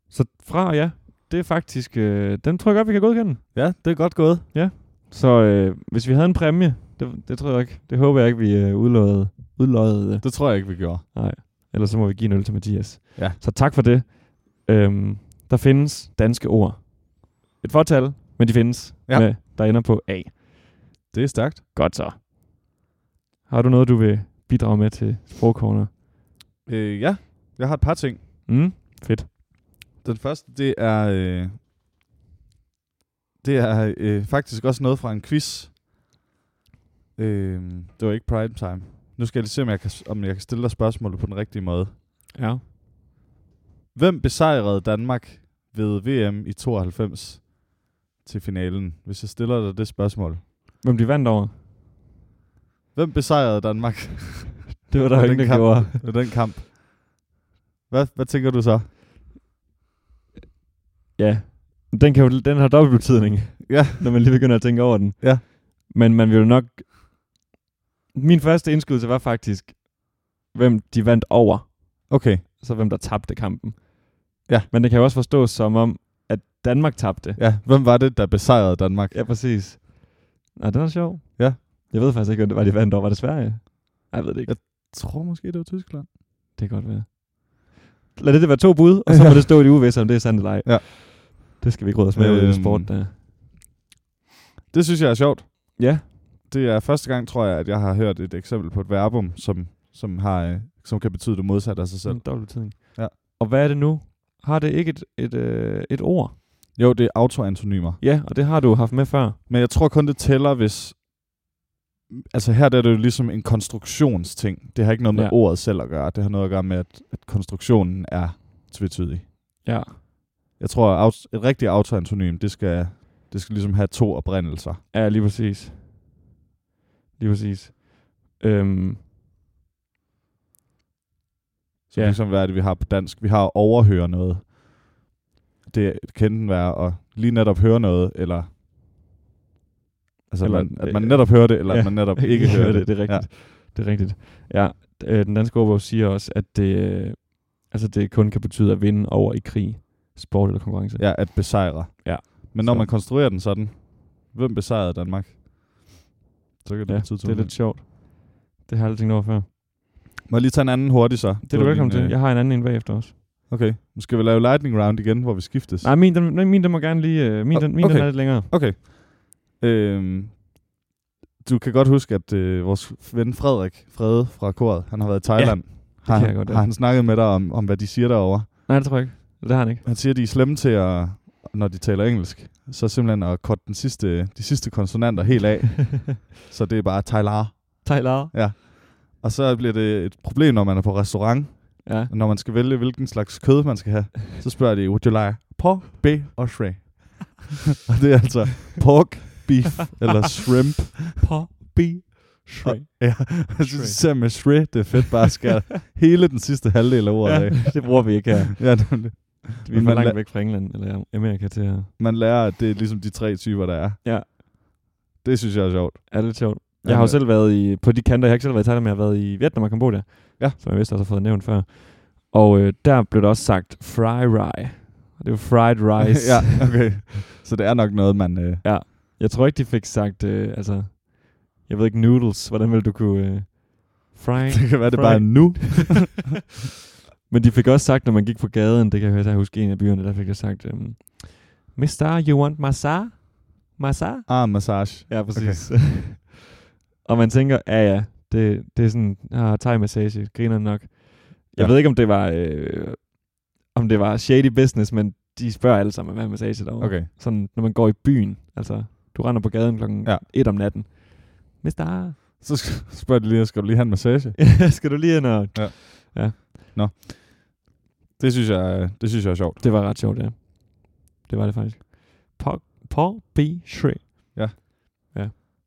Så fra og ja, det er faktisk... Øh, den tror jeg godt, vi kan godkende.
Ja, det er godt gået.
Så øh, hvis vi havde en præmie, det, det tror jeg ikke, det håber jeg ikke, vi øh, udløjede, udløjede.
Det tror jeg ikke, vi gjorde.
Nej, ellers så må vi give en øl til Mathias.
Ja.
Så tak for det. Øhm, der findes danske ord. Et fortal, men de findes,
Ja.
med, der ender på A.
Det er stærkt.
Godt så. Har du noget, du vil bidrage med til sprogcorner?
Øh, ja, jeg har et par ting.
Mm, fedt.
Den første, det er... Øh, det er øh, faktisk også noget fra en quiz. Øh, det var ikke prime time. Nu skal jeg lige se, om jeg, kan, om jeg kan stille dig spørgsmålet på den rigtige måde.
Ja.
Hvem besejrede Danmark ved VM i 92 til finalen? Hvis jeg stiller dig det spørgsmål.
Hvem de vandt over?
Hvem besejrede Danmark
Det var
Og
der jo
den
ingen, der
kamp.
gjorde.
ved den kamp? Hvad, hvad tænker du så?
Ja. Den, kan jo, den har dobbelt betydning,
Ja.
når man lige begynder at tænke over den.
Ja.
Men man vil jo nok... Min første indskydelse var faktisk, hvem de vandt over.
Okay.
så hvem der tabte kampen.
Ja.
Men det kan jo også forstås som om, at Danmark tabte.
Ja, hvem var det, der besejrede Danmark?
Ja, præcis. Nå, den er sjov.
Ja.
Jeg ved faktisk ikke, hvem det var, de vandt over. Var det Sverige? Nej, jeg ved det ikke.
Jeg- tror måske, det var Tyskland.
Det kan godt være. Lad det, det være to bud, og så må
Ja.
det stå i det uvisse, om det er sandt eller ej.
Ja.
Det skal vi ikke råde os med øhm. i den
Øhm.
sport, der.
Det synes jeg er sjovt.
Ja.
Det er første gang, tror jeg, at jeg har hørt et eksempel på et verbum, som, som, har, øh, som kan betyde det modsatte af sig
Så.
selv.
En dobbelt betydning.
Ja.
Og hvad er det nu? Har det ikke et, et, øh, et ord?
Jo, det er autoantonymer.
Ja, og det har du haft med før.
Men jeg tror kun, det tæller, hvis... Altså her der er det jo ligesom en konstruktionsting. Det har ikke noget med
Ja.
ja. ordet selv at gøre. Det har noget at gøre med, at, at konstruktionen er tvetydig.
Ja.
Jeg tror, at aut- et rigtigt autoantonym, det skal, det skal ligesom have to oprindelser.
Ja, lige præcis. Lige præcis. Øhm,
Så
Ja.
ja. ligesom, hvad er det, vi har på dansk? Vi har at overhøre noget. Det kan enten være at lige netop høre noget, eller... Altså,
Eller,
eller, man, at man
øh,
netop hører det, eller
ja,
at man netop ikke hører det.
Det er rigtigt. Ja. Det er rigtigt. Ja, d- øh, den danske ordbog siger også, at det, øh, altså det kun kan betyde at vinde over i krig, sport eller konkurrence.
Ja, at besejre.
Ja.
Men når
Så.
man konstruerer den sådan, hvem besejrede Danmark? Så kan det
ja
ja, betyde
det er lidt sjovt. Det har jeg aldrig tænkt over før.
Må jeg lige tage en anden hurtig så?
Det er du
var
velkommen
din,
til.
øh,
Jeg har en anden en bagefter også.
Okay, nu skal vi lave lightning round igen, hvor vi skiftes.
Nej, min, den, nej, min den må gerne lige... Øh, min
Nå,
den, min
okay.
den er lidt længere.
Okay. Øhm, du kan godt huske, at øh, vores ven Frederik Frede fra koret, han har været i Thailand. har,
kan
han,
jeg godt, ja.
har han snakket med dig om, om, hvad de siger derovre?
Nej, det tror jeg ikke. Det har han ikke.
Han siger, at de er slemme til at, når de taler engelsk, så simpelthen at korte den sidste, de sidste konsonanter helt af. så det er bare Thailar.
Thailand.
Og så bliver det et problem, når man er på restaurant,
Ja.
og når man skal vælge, hvilken slags kød man skal have. Så spørger de, would you like pork, beef or shrimp? og det er altså pork, beef eller shrimp.
På bi shrimp.
Ja, jeg synes Altså, især med Shre, det er fedt bare at skære hele den sidste halvdel af ordet
Ja,
af.
det bruger vi ikke her.
Ja, nemlig.
Vi er
Men
for
man
langt
la-
væk fra England eller Amerika til at...
Man lærer, at det er ligesom de tre typer, der er.
Ja.
Det synes jeg er sjovt.
Ja, det er lidt sjovt. Jeg
Ja,
har jo
men-
selv været i, på de kanter, jeg har ikke selv været i Thailand, men jeg har været i Vietnam og Kambodja,
Ja.
som jeg vist også har fået nævnt før. Og øh, der blev der også sagt fry rye. Og det var fried rice.
ja, okay. Så det er nok noget, man... Øh,
Jeg tror ikke, de fik sagt, øh, altså, jeg ved ikke, noodles. Hvordan ville du kunne... Øh, frying?
det kan være, det
Fried.
bare er nu.
men de fik også sagt, når man gik på gaden, det kan jeg høre, jeg husker en af byerne, der fik jeg sagt, øh, Mister, you want massa? Massa?
Ah, massage.
Ja, præcis. Okay. og man tænker, ja ja, det, det er sådan, ah, thai-massage, griner nok. Jeg ja.
Ja.
ved ikke, om det var øh, om det var shady business, men de spørger alle sammen, hvad er massage derovre.
Okay.
Sådan, når man går i byen, altså, du render på gaden klokken ja.
Ja.
1 om natten. Mister,
Så sk- spørger de lige, skal du lige have en massage?
skal du lige ind og...
Det synes jeg, øh, det synes jeg er sjovt.
Det var ret sjovt, ja. Det var det faktisk. På, på B. Shre.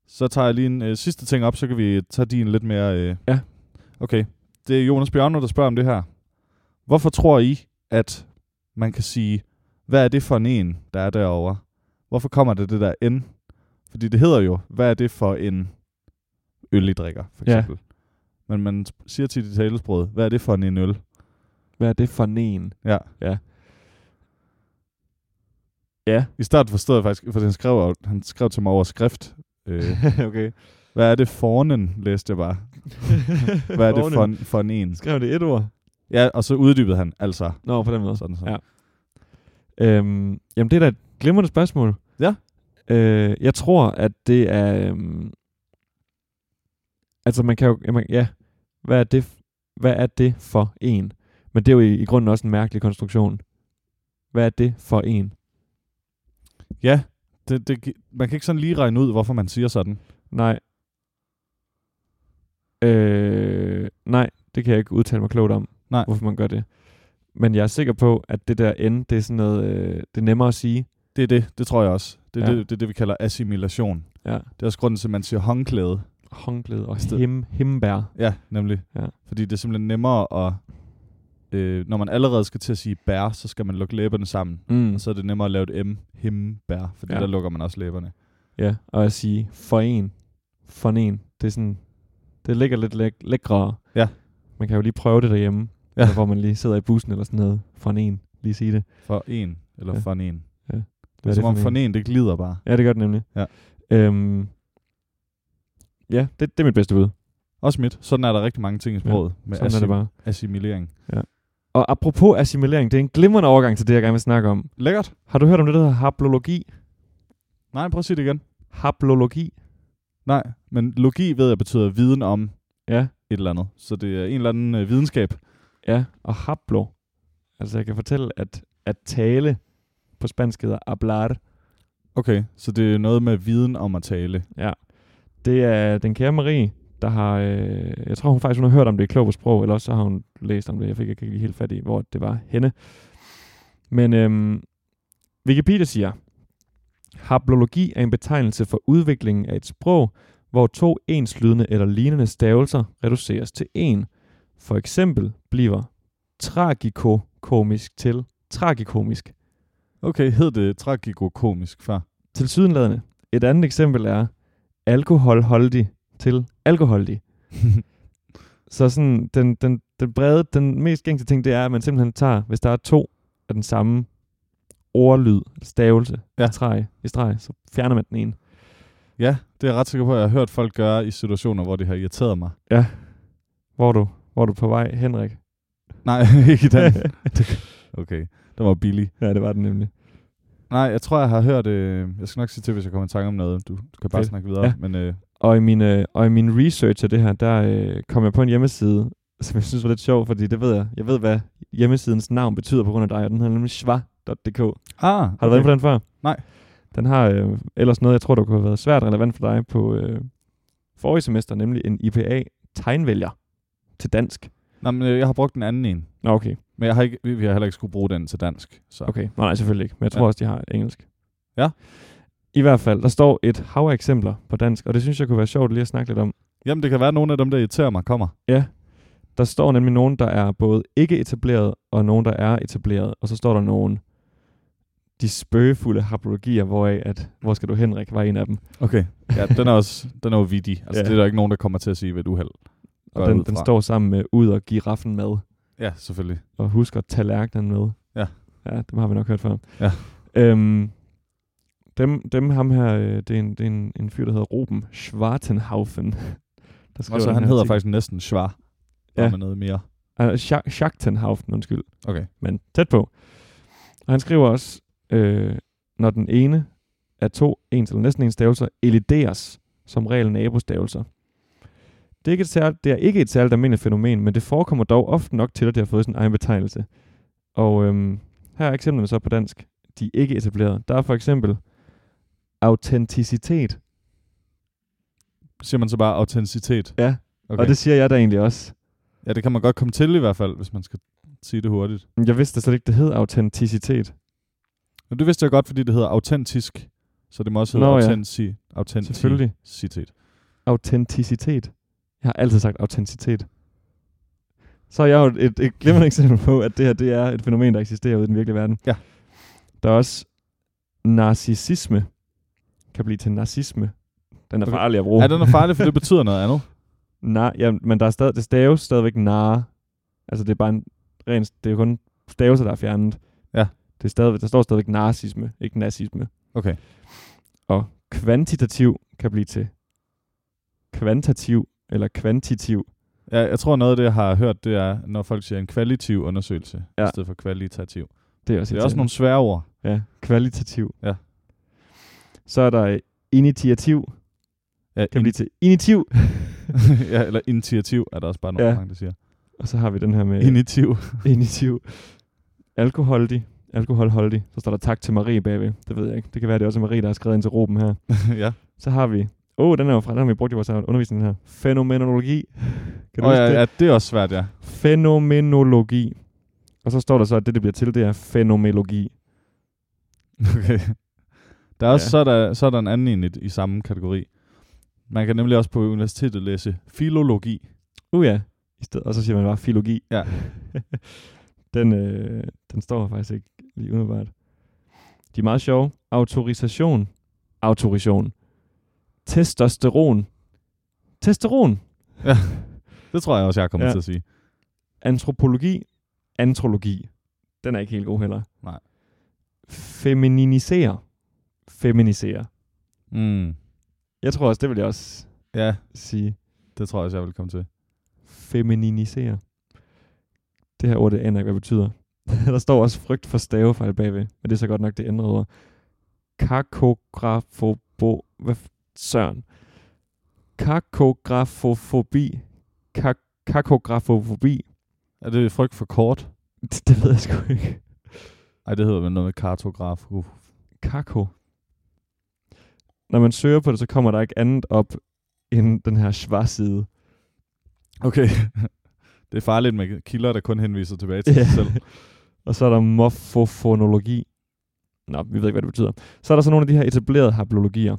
Så tager jeg lige en øh, sidste ting op, så kan vi tage din lidt mere... Øh.
Ja.
Okay. Det er Jonas Bjørner, der spørger om det her. Hvorfor tror I, at man kan sige, hvad er det for en en, der er derovre? Hvorfor kommer det det der N? Fordi det hedder jo, hvad er det for en øl, I drikker, for
Ja.
eksempel. Men man sp- siger til i talesproget, hvad er det for en en øl?
Hvad er det for en?
Ja.
Ja.
I starten forstod jeg faktisk, for han skrev, han skrev til mig over skrift. Øh,
okay.
hvad er det fornen, læste jeg bare. Hvad er det for en, for en en?
Skrev det et ord?
Ja, og så uddybede han, altså.
Nå, på den måde.
Sådan så.
Ja. Øhm, jamen, det er da et glimrende spørgsmål.
Ja.
Øh, jeg tror, at det er... Øhm, altså, man kan jo... Jamen, ja, hvad er, det, f- hvad er det for en? Men det er jo i, i grunden også en mærkelig konstruktion. Hvad er det for en?
Ja, det, det, gi- man kan ikke sådan lige regne ud, hvorfor man siger sådan.
Nej. Øh, nej, det kan jeg ikke udtale mig klogt om,
Nej.
hvorfor man gør det. Men jeg er sikker på, at det der N, det er sådan noget, øh, det er nemmere at sige.
Det er det, det tror jeg også. Det er
Ja.
ja. det, det, er det, vi kalder assimilation.
Ja.
Det er også grunden til, at man siger håndklæde.
Håndklæde og
Sted-
him, himbær.
Ja, nemlig.
Ja.
Fordi det er simpelthen nemmere at... Øh, når man allerede skal til at sige bær, så skal man lukke læberne sammen.
Mm.
Og så er det nemmere at lave et M, him, bær, fordi
Ja.
ja. der lukker man også læberne.
Ja, og at sige for en, for en, det er sådan, det ligger lidt læk- lækrere.
Ja.
Man kan jo lige prøve det derhjemme,
Ja.
ja. hvor man lige sidder i bussen eller sådan noget, for en, lige sige det.
For en, eller
Ja.
ja. for en. Det er,
Hvad
som om
en?
for en, det glider bare.
Ja, det gør det nemlig.
Ja.
Øhm, ja, det, det er mit bedste bud.
Også mit. Sådan er der rigtig mange ting i sproget. Ja. Med
Sådan er det bare.
assimilering.
Og apropos assimilering, det er en glimrende overgang til det, jeg gerne vil snakke om.
Lækkert.
Har du hørt om det, der hedder haplologi?
Nej, prøv at sige det igen.
Haplologi?
Nej, men logi ved jeg betyder viden om
Ja,
et eller andet. Så det er en eller anden øh, videnskab.
ja. Og haplo. Altså, jeg kan fortælle, at, at tale på spansk hedder hablar.
Okay, så det er noget med viden om at tale.
Det er den kære Marie, der har... Øh, jeg tror hun faktisk, hun har hørt om det i Klog på Sprog, eller også så har hun læst om det. Jeg fik ikke lige helt fat i, hvor det var henne. Men øhm, Wikipedia siger, Haplologi er en betegnelse for udviklingen af et sprog, hvor to enslydende eller lignende stavelser reduceres til en. For eksempel bliver tragikomisk til tragikomisk.
Okay, hed det tragikokomisk før?
Til sydenladende. Et andet eksempel er alkoholholdig til alkoholdig. Så sådan, den, den, den brede, den mest gængse ting, det er, at man simpelthen tager, hvis der er to af den samme ordlyd, stavelse, ja.
Ja.
streg, i streg, så fjerner man den ene.
ja, det er jeg ret sikker på, at jeg har hørt folk gøre i situationer, hvor det har irriteret mig.
Hvor er du, hvor er du på vej, Henrik?
Nej, ikke i den. Okay, det var billig.
ja, det var den nemlig.
Nej, jeg tror, jeg har hørt... Øh, jeg skal nok sige til, hvis jeg kommer i tanke om noget. Du, du kan bare
Fedt.
snakke videre.
Ja.
Ja. Men øh,
Og i min, øh, og i min research af det her, der øh, kom jeg på en hjemmeside, som jeg synes var lidt sjov, fordi det ved jeg. Jeg ved, hvad hjemmesidens navn betyder på grund af dig, og den hedder nemlig schwa.dk.
ah, okay.
Har du været inde på den før?
Nej.
Den har øh, ellers noget, jeg tror, der kunne have været svært relevant for dig på øh, forrige semester, nemlig en IPA-tegnvælger til dansk.
Nej, men øh, jeg har brugt den anden en.
Nå, okay.
Men jeg har ikke, vi vi har heller ikke skulle bruge den til dansk. Så.
okay. Nå, nej, selvfølgelig ikke, men jeg tror
Ja.
også, de har engelsk.
Ja.
I hvert fald, der står et hav af eksempler på dansk, og det synes jeg kunne være sjovt lige at snakke lidt om.
Jamen, det kan være, at nogle af dem, der irriterer mig, kommer.
Der står nemlig nogen, der er både ikke etableret, og nogen, der er etableret. Og så står der nogen, de spøgefulde haplologier, hvoraf at, hvor skal du Henrik, var en af dem.
Okay. Ja, den er også den er jo vidig.
Ja.
Altså, ja. det er der ikke nogen, der kommer til at sige ved et uheld.
Og
Går jeg
den,
ud
den
fra.
står sammen med ud og giraffen mad.
Ja, selvfølgelig.
og husk at tage lærkenen med.
Ja.
Ja, dem har vi nok hørt før.
Ja.
Øhm, dem, dem ham her, øh, det er en, det er en, en fyr, der hedder Ruben Schwartenhaufen. Der
Og så
den
han
her
hedder
artikel.
faktisk næsten Schwar.
Ja.
Ja. Med noget mere.
Ah, Scha- Schachtenhaufen, undskyld,
Okay.
men tæt på. Og han skriver også, øh, når den ene af to ens eller næsten ens stavelser elideres som regel nabostavelser. Det er, ikke et særligt, det er ikke et særligt almindeligt fænomen, men det forekommer dog ofte nok til, at det har fået sin egen betegnelse. Og øhm, her er eksemplerne så på dansk. De er ikke etableret. Der er for eksempel autenticitet.
Siger man så bare autenticitet.
Ja, okay.
Okay.
og det siger jeg da egentlig også.
ja, det kan man godt komme til i hvert fald, hvis man skal sige det hurtigt.
Men Jeg vidste da slet ikke, det hed autenticitet.
Men det vidste jeg godt, fordi det hedder autentisk. Så det må også hedde
Nå, ja.
autentici- autenticitet.
Selvfølgelig.
Citat.
Autenticitet. Jeg har altid sagt autenticitet. så er jeg jo et, et glimrende eksempel på, at det her det er et fænomen, der eksisterer ude i den virkelige verden.
Ja.
Der er også narcissisme. Kan blive til narcissisme. Den er
Okay.
farlig at bruge.
Ja, den er farlig, for det betyder noget andet.
Nej, ja, men der er stadig, det staves stadigvæk nar. Altså det er bare en ren, det er jo kun stavelser, der er fjernet.
Ja.
Det er stadig, der står stadigvæk narcissisme, ikke nazisme.
Okay.
Og kvantitativ kan blive til kvantativ eller kvantitativ.
Ja, jeg tror, noget af det, jeg har hørt, det er, når folk siger en kvalitativ undersøgelse, ja.
Ja.
i stedet for kvalitativ.
Det er også,
Det er også nogle svære ord.
irriterende. Ja, kvalitativ.
Ja.
Så er der øh, initiativ,
Ja,
kan blive til initiativ.
ja, eller initiativ er der også bare nogle
Ja.
ja. mange, der siger.
Og så har vi den her med
Initiativ.
Initiativ. Alkoholdig. Alkoholholdig. Så står der tak til Marie bagved. Det ved jeg ikke. Det kan være, det er også Marie, der har skrevet ind til Ruben her.
ja.
Så har vi... Åh, oh, den er jo fra, den har vi brugt i vores undervisning her. Fænomenologi. Kan du
Og
huske
ja,
det?
ja, det er også svært, ja.
Fænomenologi. Og så står der så, at det, det bliver til, det er fænomenologi.
Okay. Der er også,
Ja.
ja. så, er der, så er der en anden en i, i samme kategori. Man kan nemlig også på universitetet læse filologi.
Uh ja. I stedet, og så siger man bare filologi.
Ja.
den, øh, den står her faktisk ikke lige umiddelbart. De er meget sjove. Autorisation. Autorisation. Testosteron. Testosteron.
Ja. Det tror jeg også, jeg kommer
Ja.
ja. til at sige.
Antropologi. Antrologi. Den er ikke helt god heller.
Nej.
Feminisere. Feminisere.
Mm.
Jeg tror også, det vil jeg også
Ja,
sige.
det tror jeg også, jeg vil komme til.
Feminisere. Det her ord, det aner jeg ikke, hvad det betyder. Der står også frygt for stavefejl bagved, men det er så godt nok det ændrede ord. Kakografobo... Hvad f- søren? Kakografofobi. Kak kakografofobi.
Er det frygt for kort?
Det, det ved jeg sgu ikke.
Ej, det hedder vel noget med kartograf. Uh.
Kako. Når man søger på det, så kommer der ikke andet op end den her svarside.
Okay. det er farligt med kilder, der kun henviser tilbage til sig selv.
og så er der morfofonologi. Nå, vi ved ikke, hvad det betyder. Så er der så nogle af de her etablerede haplologier.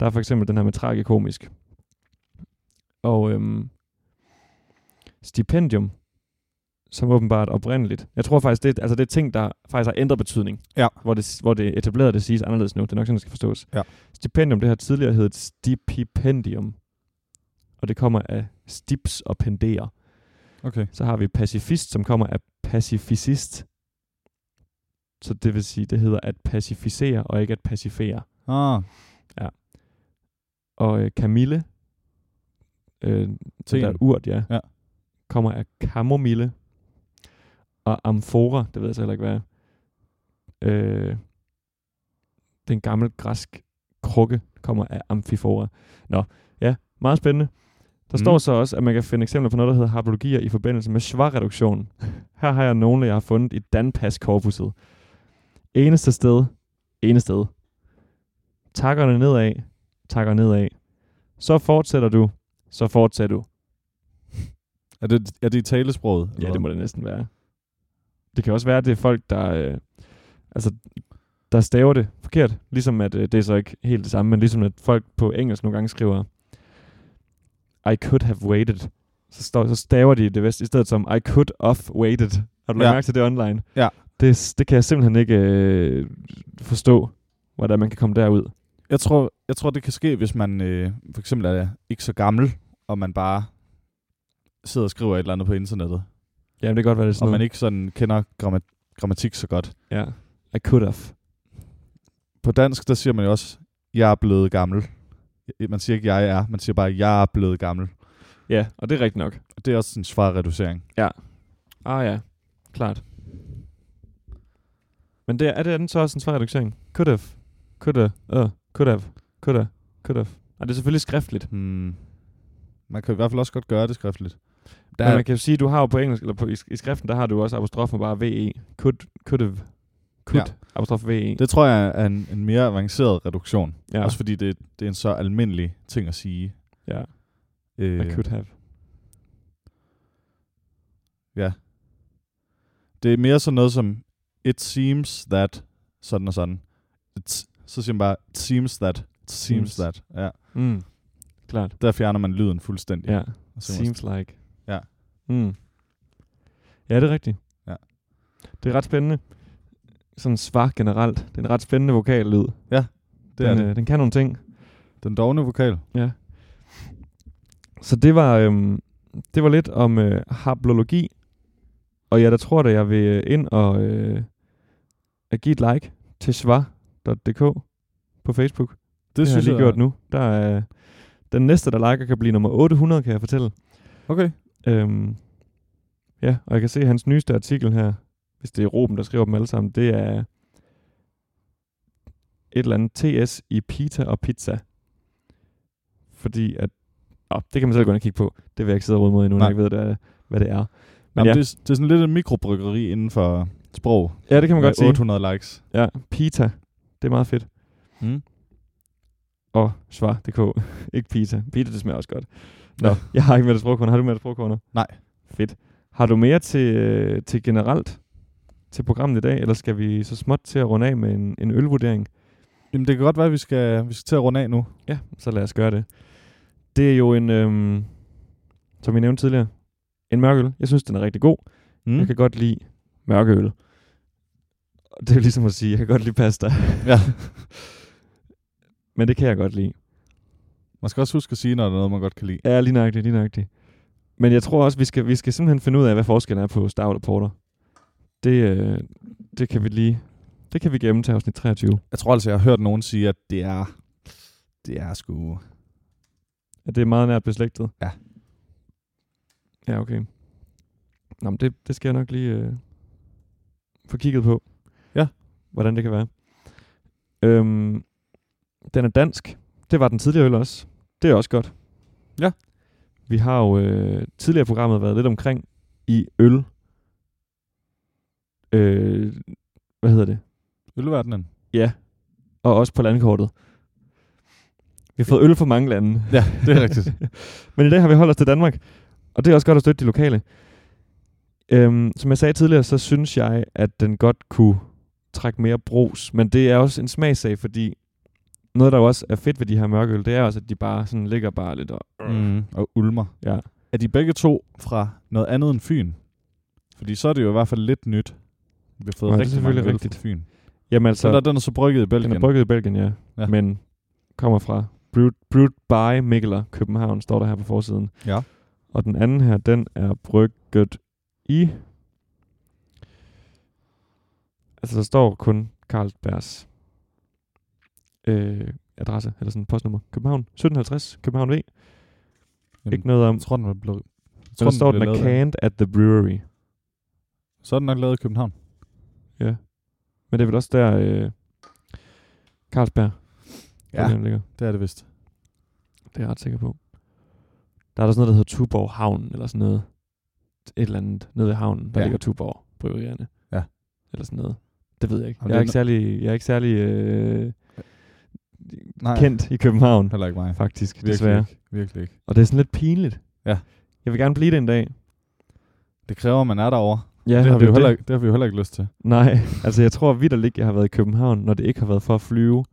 Der er for eksempel den her med tragikomisk. Og øhm, stipendium, som åbenbart oprindeligt. Jeg tror faktisk, det er, altså det er ting, der faktisk har ændret betydning.
Ja.
Hvor det, hvor det etablerede, det siges anderledes nu. Det er nok sådan, det skal forstås.
Ja.
Stipendium, det har tidligere heddet stipendium. Og det kommer af stips og pendere.
Okay.
Så har vi pacifist, som kommer af pacifisist. Så det vil sige, det hedder at pacificere og ikke at pacifere.
Ah,
Og øh, Camille, øh,
Teen.
det der urt, ja,
Ja.
kommer af kamomille. Og amfora, det ved jeg så heller ikke, hvad er. Øh, det er en gammel græsk krukke, kommer af amfifora. Nå, ja, meget spændende. Der
Mm.
mm. står så også, at man kan finde eksempler på noget, der hedder harpologier i forbindelse med svarreduktion. Her har jeg nogle, jeg har fundet i Danpas-korpuset. Eneste sted, ene sted. Takkerne nedad, takker nedad. Så fortsætter du, så fortsætter du.
er det, er det i talesproget?
Ja, det må det næsten være. Det kan også være, at det er folk, der, øh, altså, der staver det forkert. Ligesom at, øh, det er så ikke helt det samme, men ligesom at folk på engelsk nogle gange skriver, I could have waited. Så, står, så staver de det vest, i stedet som, I could have waited. Har du lagt
Ja.
mærke til det online?
Ja.
Det, det kan jeg simpelthen ikke øh, forstå, hvordan man kan komme derud.
Jeg tror, jeg tror, det kan ske, hvis man øh, for eksempel er ikke så gammel, og man bare sidder og skriver et eller andet på internettet,
Jamen, det kan godt være, det er sådan
og man
noget.
ikke sådan kender gramma- grammatik så godt.
Ja. I could have.
På dansk, der siger man jo også, jeg er blevet gammel. Man siger ikke, jeg er, man siger bare, jeg er blevet gammel.
Ja, og det er rigtigt nok.
Og det er også en svarreducering.
Ah ja, klart. Men det er, er det den så også en svær reducering? Could have, could have, uh, could have, could have, could have. Og det er selvfølgelig skriftligt.
Hmm. Man kan i hvert fald også godt gøre det skriftligt.
Der
Der
Men
er,
man kan jo sige, du har jo på engelsk, eller på, i, i skriften, der har du også apostrofen bare VE. Could, could have, could, E. ja. apostrof VE. Det,
det tror jeg er en, en mere avanceret reduktion.
ja,
Ja. Også fordi det, det er en så almindelig ting at sige.
ja,
Øh,
I could have.
Det er mere sådan noget som, it seems that, sådan og sådan. It's, så siger man bare, it seems that, it seems,
Seems.
that. Ja,
Mm. Klart.
der fjerner man lyden fuldstændig.
Ja,
Og så kan man-
seems like.
Ja.
Mm. Ja, det er rigtigt.
Ja.
Det er ret spændende. Sådan svag generelt. Det er en ret spændende vokallyd.
Det er
den,
den, det.
Øh, den kan nogle ting.
Den dogne vokal.
Så det var, øhm, det var lidt om øh, haplologi. Og jeg der tror da, jeg vil øh, ind og øh, at give et like til svar.dk på Facebook. Det,
Det, det
har jeg
synes
lige gjort nu. Der er, øh, den næste, der liker, kan blive nummer 800, kan jeg fortælle.
Okay.
Øhm, ja, og jeg kan se hans nyeste artikel her, hvis det er Ruben, der skriver dem alle sammen, det er et eller andet TS i pita og pizza. Fordi at, åh, det kan man selv gå ind og kigge på. Det vil jeg ikke sidde og rode mod endnu, når
Nej.
jeg ikke ved, hvad, hvad det er. Men
Jamen,
ja.
ja. det, er- det, er sådan lidt en mikrobryggeri inden for sprog.
Ja, det kan man
med
godt sige.
800 likes.
Ja, pita. Det er meget fedt.
Mm.
Og svar.dk. ikke pita. Pita, det smager også godt. Nå, jeg har ikke med det sprogkorn. Har du med det sprogkorn?
Nej.
Fedt. Har du mere til, øh, til generelt til programmet i dag, eller skal vi så småt til at runde af med en, en ølvurdering?
Jamen, det kan godt være, at vi skal, vi skal til at runde af nu.
Ja, så lad os gøre det. Det er jo en, øhm, som vi nævnte tidligere, en mørkøl. Jeg synes, den er rigtig god. Mm. Jeg kan godt lide mørkeøl. Og Det er jo ligesom at sige, jeg kan godt lide pasta.
Ja.
Men det kan jeg godt lide.
Man skal også huske at sige, når der er noget, man godt kan lide.
Ja, lige nøjagtigt, lige nøjagtigt. Men jeg tror også, vi skal, vi skal simpelthen finde ud af, hvad forskellen er på Stout og Porter. Det, øh, det kan vi lige... Det kan vi gemme til afsnit 23.
Jeg tror altså, jeg har hørt nogen sige, at det er... Det er sgu...
At det er meget nært beslægtet.
Ja.
Ja, okay. Nå, men det, det skal jeg nok lige øh, få kigget på.
Ja.
Hvordan det kan være. Øhm, den er dansk. Det var den tidligere øl også. Det er også godt.
Ja.
Vi har jo øh, tidligere i programmet været lidt omkring i øl. Øh, hvad hedder det?
Ølverdenen.
Og også på landkortet. Vi har fået øl fra mange lande.
Ja, det er rigtigt.
Men i dag har vi holdt os til Danmark, og det er også godt at støtte de lokale. Øhm, som jeg sagde tidligere, så synes jeg, at den godt kunne trække mere brus, men det er også en smagssag, fordi noget, der jo også er fedt ved de her mørkeøl, det er også, at de bare sådan ligger bare lidt og...
mm. Og ulmer.
Ja.
Er de begge to fra noget andet end Fyn? Fordi så er det jo i hvert fald lidt nyt. Vi har fået
Nej, det er
rigtig mange
selvfølgelig
øl
rigtigt.
fra Fyn.
Jamen altså,
Så der, den er så brygget i Belgien.
den er brygget i Belgien, ja,
Ja.
ja. men kommer fra Brewed, Brewed by Mikkeler, København, står der her på forsiden.
Ja.
Og den anden her, den er brygget i... Altså, der står kun Carlsbergs øh, adresse, eller sådan postnummer. København, 1750, København V.
Jamen,
Ikke noget om...
Jeg tror, den er blevet... Jeg
Så
tror,
der står, den
blev
er
lavet der.
canned at the brewery.
Så er den nok lavet i København.
Men det er vel også der, øh, Carlsberg
Ja.
den ligger.
Det er det vist.
Det er jeg ret sikker på. Der er der sådan noget, der hedder Tuborg Havn, eller sådan noget. Et eller andet nede ved havnen, der
Ja.
ja. ligger Tuborg Bryggerierne.
Ja,
Eller sådan noget. Det ved jeg ikke.
Jamen,
jeg,
det
er
er
ikke særlig, jeg er ikke særlig øh,
Nej,
kendt i København,
heller ikke mig.
faktisk, Virkelig.
Virkelig
desværre.
ikke. Virkelig ikke.
Og det er sådan lidt pinligt.
Ja.
Jeg vil gerne blive det en dag.
Det kræver, at man er derovre.
Ja,
det, har
og
vi jo
er
heller, ikke- det har vi jo heller ikke lyst til.
Nej, altså jeg tror vidderligt, jeg har været i København, når det ikke har været for at flyve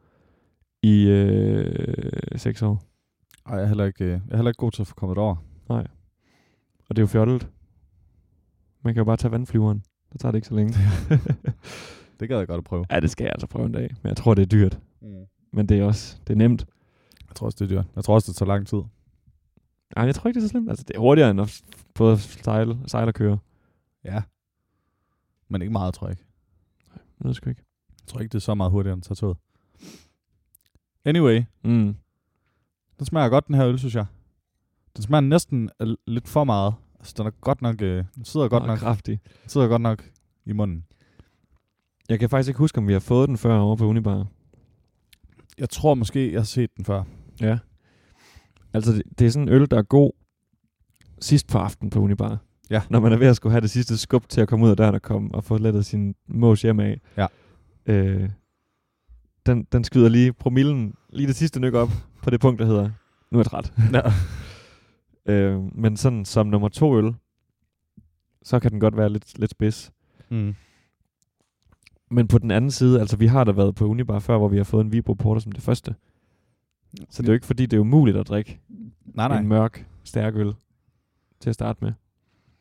i øh, seks år.
Og jeg er heller ikke, øh, jeg er heller ikke god til at få kommet over.
Og det er jo fjollet. Man kan jo bare tage vandflyveren. Så tager det ikke så længe.
Det gad jeg godt at prøve.
Ja, det skal jeg altså prøve en dag. Men jeg tror, det er dyrt.
Mm.
Men det er også det er nemt.
Jeg tror også, det er dyrt. Jeg tror også, det tager lang tid.
Ej, jeg tror ikke, det er så slemt. Altså, det er hurtigere end at f- både at sejle, sejle og køre.
Ja. Men ikke meget, tror jeg ikke.
Det ved jeg sgu ikke.
Jeg tror ikke, det er så meget hurtigere end at tage toget. Anyway,
Mm.
den smager godt, den her øl, synes jeg. Den smager næsten øh, lidt for meget. Altså, den er godt nok, øh, den sidder godt
Og
nok,
kraftig.
den sidder godt nok i munden.
Jeg kan faktisk ikke huske, om vi har fået den før over på Unibar.
Jeg tror måske, jeg har set den før.
Ja. Altså, det, det er sådan en øl, der er god sidst på aftenen på Unibar.
Ja.
Når man er ved at skulle have det sidste skub til at komme ud af døren og komme og få lettet sin mås hjem af.
Ja.
Øh, den, den skyder lige promillen, lige det sidste nyk op på det punkt, der hedder, nu er jeg træt.
Ja.
Øh, men sådan som nummer to øl, så kan den godt være lidt, lidt spids.
Mm.
Men på den anden side, altså vi har da været på Unibar før, hvor vi har fået en Vibro Porter som det første. Så det er jo ikke fordi, det er umuligt at drikke
Nej,
en
nej.
mørk, stærk øl til at starte med.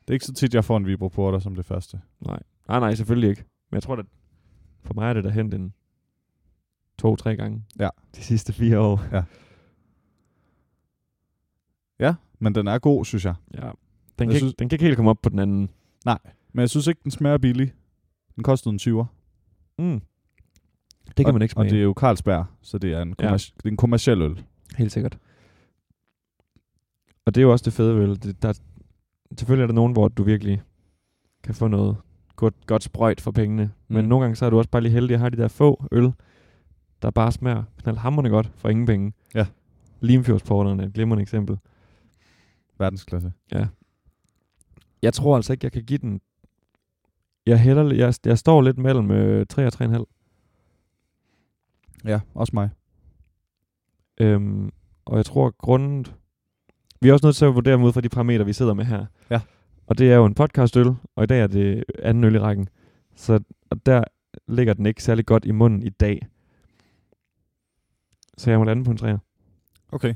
Det er ikke så tit, jeg får en vibroporter som det første.
Nej, Ah, nej, selvfølgelig ikke. Men jeg tror, at for mig er det da hen den to-tre gange
Ja.
de sidste fire år.
Ja, men den er god, synes jeg.
Ja. Den, kan
Jeg
synes...
synes-
ikke, den kan ikke helt komme op på den anden.
Men jeg synes ikke, den smager billig. Den kostede en 20'er.
Mm. Det kan
og,
man ikke smage.
Og det er jo Carlsberg, så det er en,
Ja.
kommerci- det er en kommerciel øl.
Helt sikkert. Og det er jo også det fede ved øl. det, der, Selvfølgelig er der nogen, hvor du virkelig kan få noget godt, godt sprøjt for pengene. Mm. Men
Mm.
nogle gange så er du også bare lige heldig at have de der få øl, der bare smager knaldhamrende godt for ingen penge.
Ja.
Limfjordsporterne er et glimrende eksempel.
Verdensklasse.
Jeg tror altså ikke, jeg kan give den... Jeg, hælder, li- jeg, jeg står lidt mellem øh, 3 og 3,5.
Ja, også mig.
Øhm, og jeg tror, at grunden... Vi er også nødt til at vurdere dem ud fra de parametre, vi sidder med her.
Ja.
Og det er jo en podcastøl, og i dag er det anden øl i rækken. Så og der ligger den ikke særlig godt i munden i dag. Så jeg må lande på en træer.
Okay.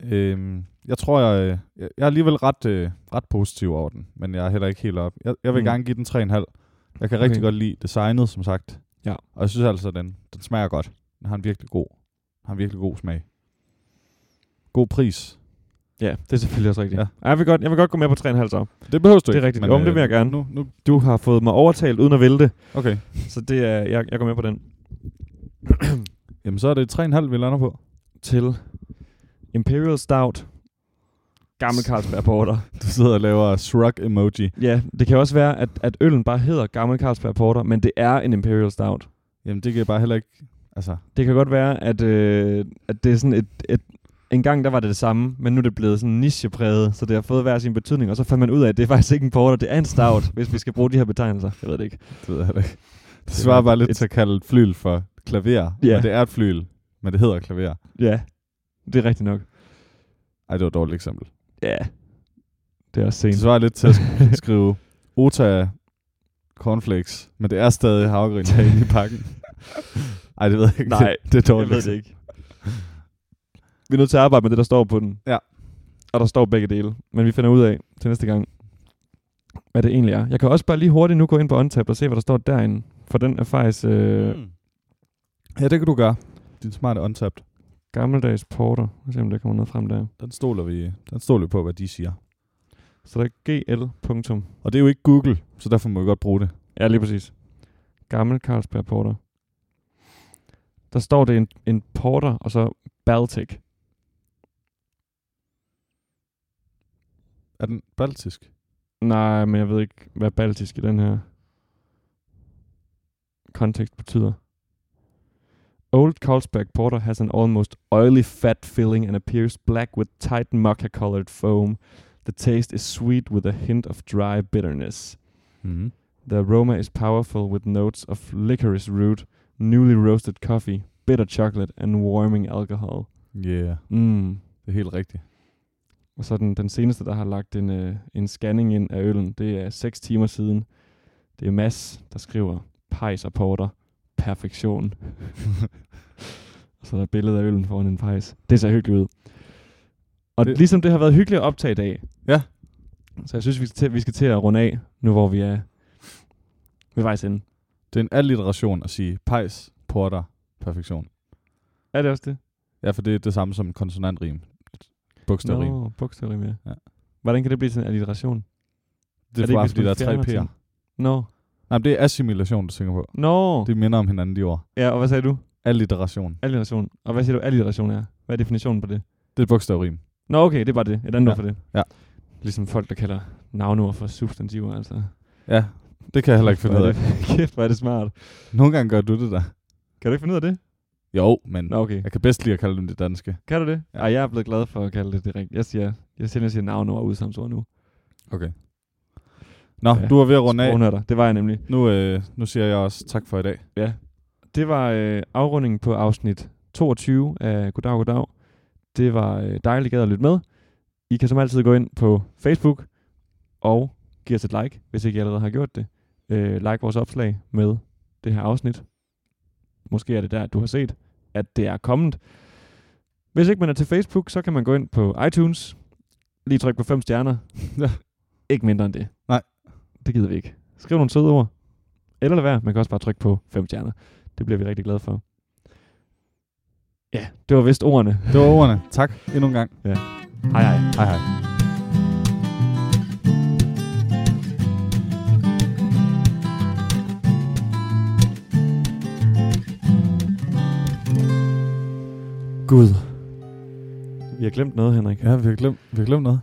Øhm, jeg tror, jeg, jeg jeg er alligevel ret, øh, ret positiv over den, men jeg er heller ikke helt op. Jeg, jeg vil
Mm.
mm. gerne give den 3,5. Jeg kan rigtig
Okay.
godt lide designet, som sagt.
Ja.
Og jeg synes altså, den, den smager godt. Den har en virkelig god, har en virkelig god smag. God pris.
Ja, det er selvfølgelig også rigtigt. Ja.
Ja.
Ej, jeg, vil godt, jeg vil godt gå med på 3,5 så.
Det behøver du
Det
ikke. øh,
er rigtigt. Jo, men det vil jeg gerne.
Nu, nu,
Du har fået mig overtalt uden at vælte,
okay.
så det er, jeg, jeg går med på den.
Jamen, så er det 3,5, vi lander på.
Til Imperial Stout. Gammel Carlsberg Porter.
Du sidder og laver shrug emoji.
Ja, det kan også være, at, at øllen bare hedder Gammel Carlsberg Porter, men det er en Imperial Stout.
Jamen, det kan jeg bare heller ikke... Altså,
Det kan godt være, at, øh, at det er sådan et, et... En gang der var det det samme, men nu er det blevet sådan nichepræget, så det har fået hver sin betydning, og så fandt man ud af, at det er faktisk ikke en porter, det er en stout, hvis vi skal bruge de her betegnelser. Jeg ved det ikke.
det ved jeg heller ikke.
er
Det svarer bare
et-
lidt til at kalde et flyl for klaver.
Ja.
Men det er et flyl, men det hedder klaver.
Ja, det er rigtigt nok.
Ej, det var et dårligt eksempel.
Ja, det er også
Det
sent.
svarer lidt til at sk- skrive Ota cornflakes, men det er stadig havregryn herinde i pakken. Ej, det ved jeg ikke.
Nej,
det, det er
Jeg
dårligt. altså.
ved det ikke. Vi er nødt til at arbejde med det, der står på den.
Ja.
Og der står begge dele. Men vi finder ud af til næste gang, hvad det egentlig er. Jeg kan også bare lige hurtigt nu gå ind på Untapped og se, hvad der står derinde. For den er faktisk øh,
Mm. Ja, det kan du gøre. Din smarte untapped.
gammeldags porter. Lad os se, om der kommer noget frem der.
Den stoler vi, den stoler vi på, hvad de siger.
Så der er GL. punktum.
Og det er jo ikke Google, så derfor må vi godt bruge det.
Ja, lige præcis. Gammel Carlsberg Porter. Der står det en, en porter, og så Baltic.
Er den baltisk?
Nej, men jeg ved ikke, hvad baltisk i den her kontekst betyder. Old Carlsberg Porter has an almost oily fat filling and appears black with tight mocha-colored foam. The taste is sweet with a hint of dry bitterness.
Mm-hmm.
The aroma is powerful with notes of licorice root, newly roasted coffee, bitter chocolate and warming alcohol.
Yeah,
Mm.
det er helt rigtigt.
Og så den, den seneste, der har lagt en, øh, en scanning ind af øllen, det er 6 timer siden. Det er Mads, der skriver, pejs og porter, perfektion. og så er der et billede af øllen foran en pejs. Det ser hyggeligt ud. Og det.
Det-
ligesom det har været hyggeligt at optage i dag.
Ja.
Så jeg synes, vi skal til, vi skal til at runde af, nu hvor vi er ved vejs ende.
Det er en alliteration at sige pejs, porter, perfektion.
Er det også det?
Ja, for det er det samme som konsonantrim. Et Bogstavrim.
Nå, bogstavrim, ja.
Ja.
Hvordan kan det blive til en alliteration?
Det
Er
er, er
det
bare,
ikke,
fordi der er
hvis
tre
man fjerner
p'er.
ting? Nå.
Nej, men det er assimilation, du tænker på.
Nå.
Det minder om hinanden, de ord.
Ja, og hvad sagde du?
Alliteration.
Alliteration. Og hvad siger du, alliteration er? Hvad er definitionen på det?
Det er et bogstavrim.
Nå, okay, det er bare det. Et andet ja.
Ja.
ord for det.
Ja.
Ligesom folk, der kalder navnord for substantiver, altså.
Ja, det kan jeg heller ikke finde ud
Hvor er
af.
det- Kæft, hvor er det smart.
Nogle gange gør du det der.
Kan du ikke finde ud af det?
Jo, men
Nå, okay.
jeg kan bedst lide at kalde dem det danske.
Kan du det? Ja.
Ja.
Ej, jeg er blevet glad for at kalde det det rigtigt. Jeg siger, jeg siger, jeg siger navnord og udsamsord nu.
Okay. Nå,
Ja.
ja. du er ved at runde af.
Sprognørder. Det var jeg nemlig.
Nu, øh, nu siger jeg også tak for i dag.
Ja. Det var øh, afrundingen på afsnit 22 af Goddag, Goddag. Det var øh, dejligt gad at lytte med. I kan som altid gå ind på Facebook og give os et like, hvis ikke I allerede har gjort det. Øh, like vores opslag med det her afsnit. Måske er det der, du har set, at det er kommet. Hvis ikke man er til Facebook, så kan man gå ind på iTunes. Lige tryk på fem stjerner.
Ja.
Ikke mindre end det.
Nej.
Det gider vi ikke. Skriv nogle søde ord. Eller lad være. Man kan også bare trykke på fem stjerner. Det bliver vi rigtig glade for. Ja, det var vist ordene.
Det var ordene. Tak endnu en gang.
Hej hej.
Hej hej.
Gud. Vi har glemt noget, Henrik.
Ja, vi har glemt, vi har glemt noget.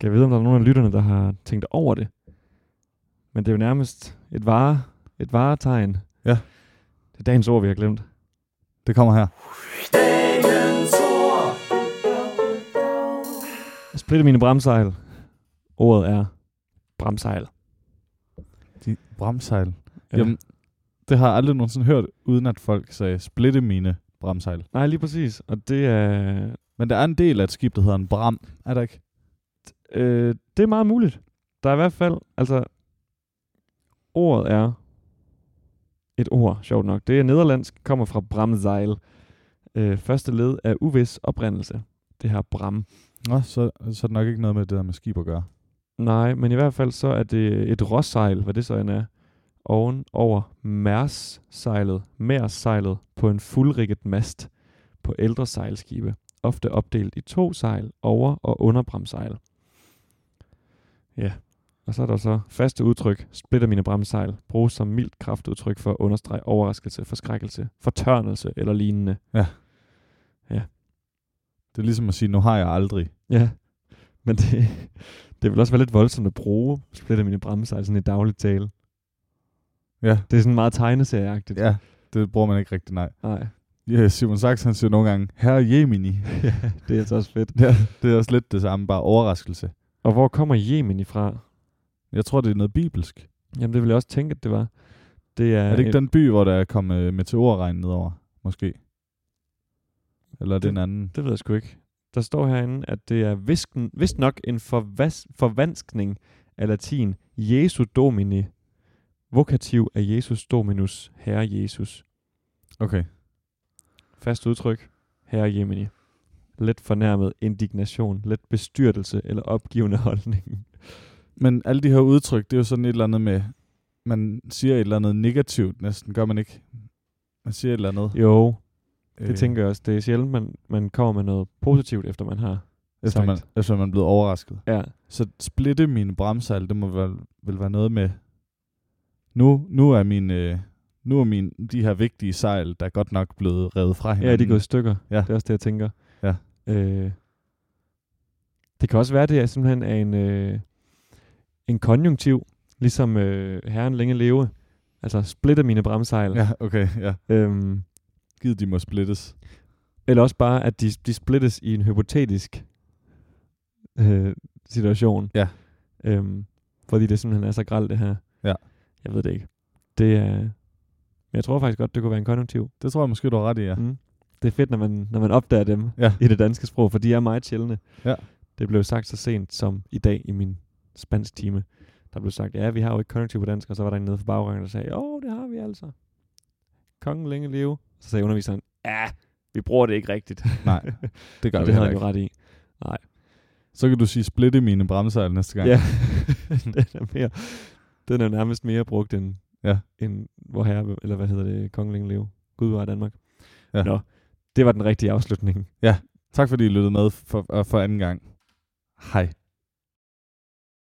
Kan jeg vide, om der er nogen af lytterne, der har tænkt over det? Men det er jo nærmest et, vare, et varetegn.
Ja.
Det er dagens ord, vi har glemt.
Det kommer her.
Jeg splitter mine bremsejl. Ordet er bremsejl.
De bremsejl. Ja. Jamen, det har jeg aldrig nogensinde hørt, uden at folk sagde, splitte mine bremsejl.
Nej, lige præcis. Og det er,
Men der er en del af et skib, der hedder en bram. Er der ikke?
Øh, det er meget muligt. Der er i hvert fald, altså, ordet er et ord, sjovt nok. Det er nederlandsk, kommer fra bramsejl. Øh, første led er uvis oprindelse. Det her bram.
Nå, så, så er det nok ikke noget med det der med skib at gøre.
Nej, men i hvert fald så er det et råsejl, hvad det så end er, oven over mærssejlet, mærssejlet på en fuldrigget mast på ældre sejlskibe, ofte opdelt i to sejl, over- og underbremsejl. Ja, og så er der så faste udtryk, splitter mine bremsejl, bruges som mildt kraftudtryk for at understrege overraskelse, forskrækkelse, fortørnelse eller lignende.
Det er ligesom at sige, nu har jeg aldrig.
Ja, men det, det vil også være lidt voldsomt at bruge, splitter mine bremsejl sådan i dagligt tale.
Ja,
Det er sådan meget tegneserieagtigt.
ja. Det bruger man ikke rigtig, nej.
Nej.
Ja, Simon Sachs, han siger nogle gange, herre Jemini.
ja, det er altså også fedt.
Ja, det er også lidt det samme, bare overraskelse.
Og hvor kommer Yemen ifra?
Jeg tror, det er noget bibelsk.
Jamen, det ville jeg også tænke, at det var. Det er,
Er det ikke
et-
den by, hvor der er kommet øh, meteorregn nedover, måske? Eller er det, det en anden?
Det ved jeg sgu ikke. Der står herinde, at det er visken, vist nok en forvas, forvanskning af latin Jesu Domini. Vokativ af Jesus Dominus, Herre Jesus.
Okay.
Fast udtryk, Herre Jemini. Let fornærmet indignation, let bestyrtelse eller opgivende holdning.
Men alle de her udtryk, det er jo sådan et eller andet med, man siger et eller andet negativt næsten, gør man ikke? Man siger et eller andet.
Jo, det øh. tænker jeg også. Det er sjældent, man, man kommer med noget positivt, efter man har
efter man,
sagt.
efter man er blevet overrasket.
Ja,
Så splitte mine bremsejl, det må vel, vel være noget med, nu, nu er min... Øh, nu er min, de her vigtige sejl, der er godt nok blevet revet fra hinanden.
Ja, de er gået i stykker.
Ja.
Ja. Det er også det, jeg tænker.
Ja.
Øh, det kan også være, det er simpelthen er en, øh, en konjunktiv, ligesom øh, herren længe leve. Altså splitter mine bremsejl.
Ja, okay, ja.
Øhm,
Givet de må splittes.
eller også bare, at de, de splittes i en hypotetisk øh, situation.
Ja.
Øhm, fordi det simpelthen er så gralt, det her.
Ja.
Jeg ved det ikke. Det er... Men jeg tror faktisk godt, det kunne være en konjunktiv.
Det tror jeg måske, du har ret i, ja.
Mm. Det er fedt, når man, når man opdager dem
Ja.
i det danske sprog, for de er meget sjældne.
Ja.
Det blev sagt så sent som i dag i min spansk time. Der blev sagt, ja, vi har jo ikke konjunktiv på dansk, og så var der en nede for baggangen, der sagde, jo, det har vi altså. Kongen længe leve. Så sagde underviseren, ja, vi bruger det ikke rigtigt.
Nej, det gør
og
vi
det
heller
havde han
ikke.
jo ret i.
Så kan du sige, splitte mine bremsejl næste gang.
Ja, den er mere, den er nærmest mere brugt end,
Ja.
end hvor herre, eller hvad hedder det, kongen længe leve. Gud var Danmark.
Ja.
Nå, det var den rigtige afslutning.
øh, Tak fordi I lyttede med for, for anden gang. Hej.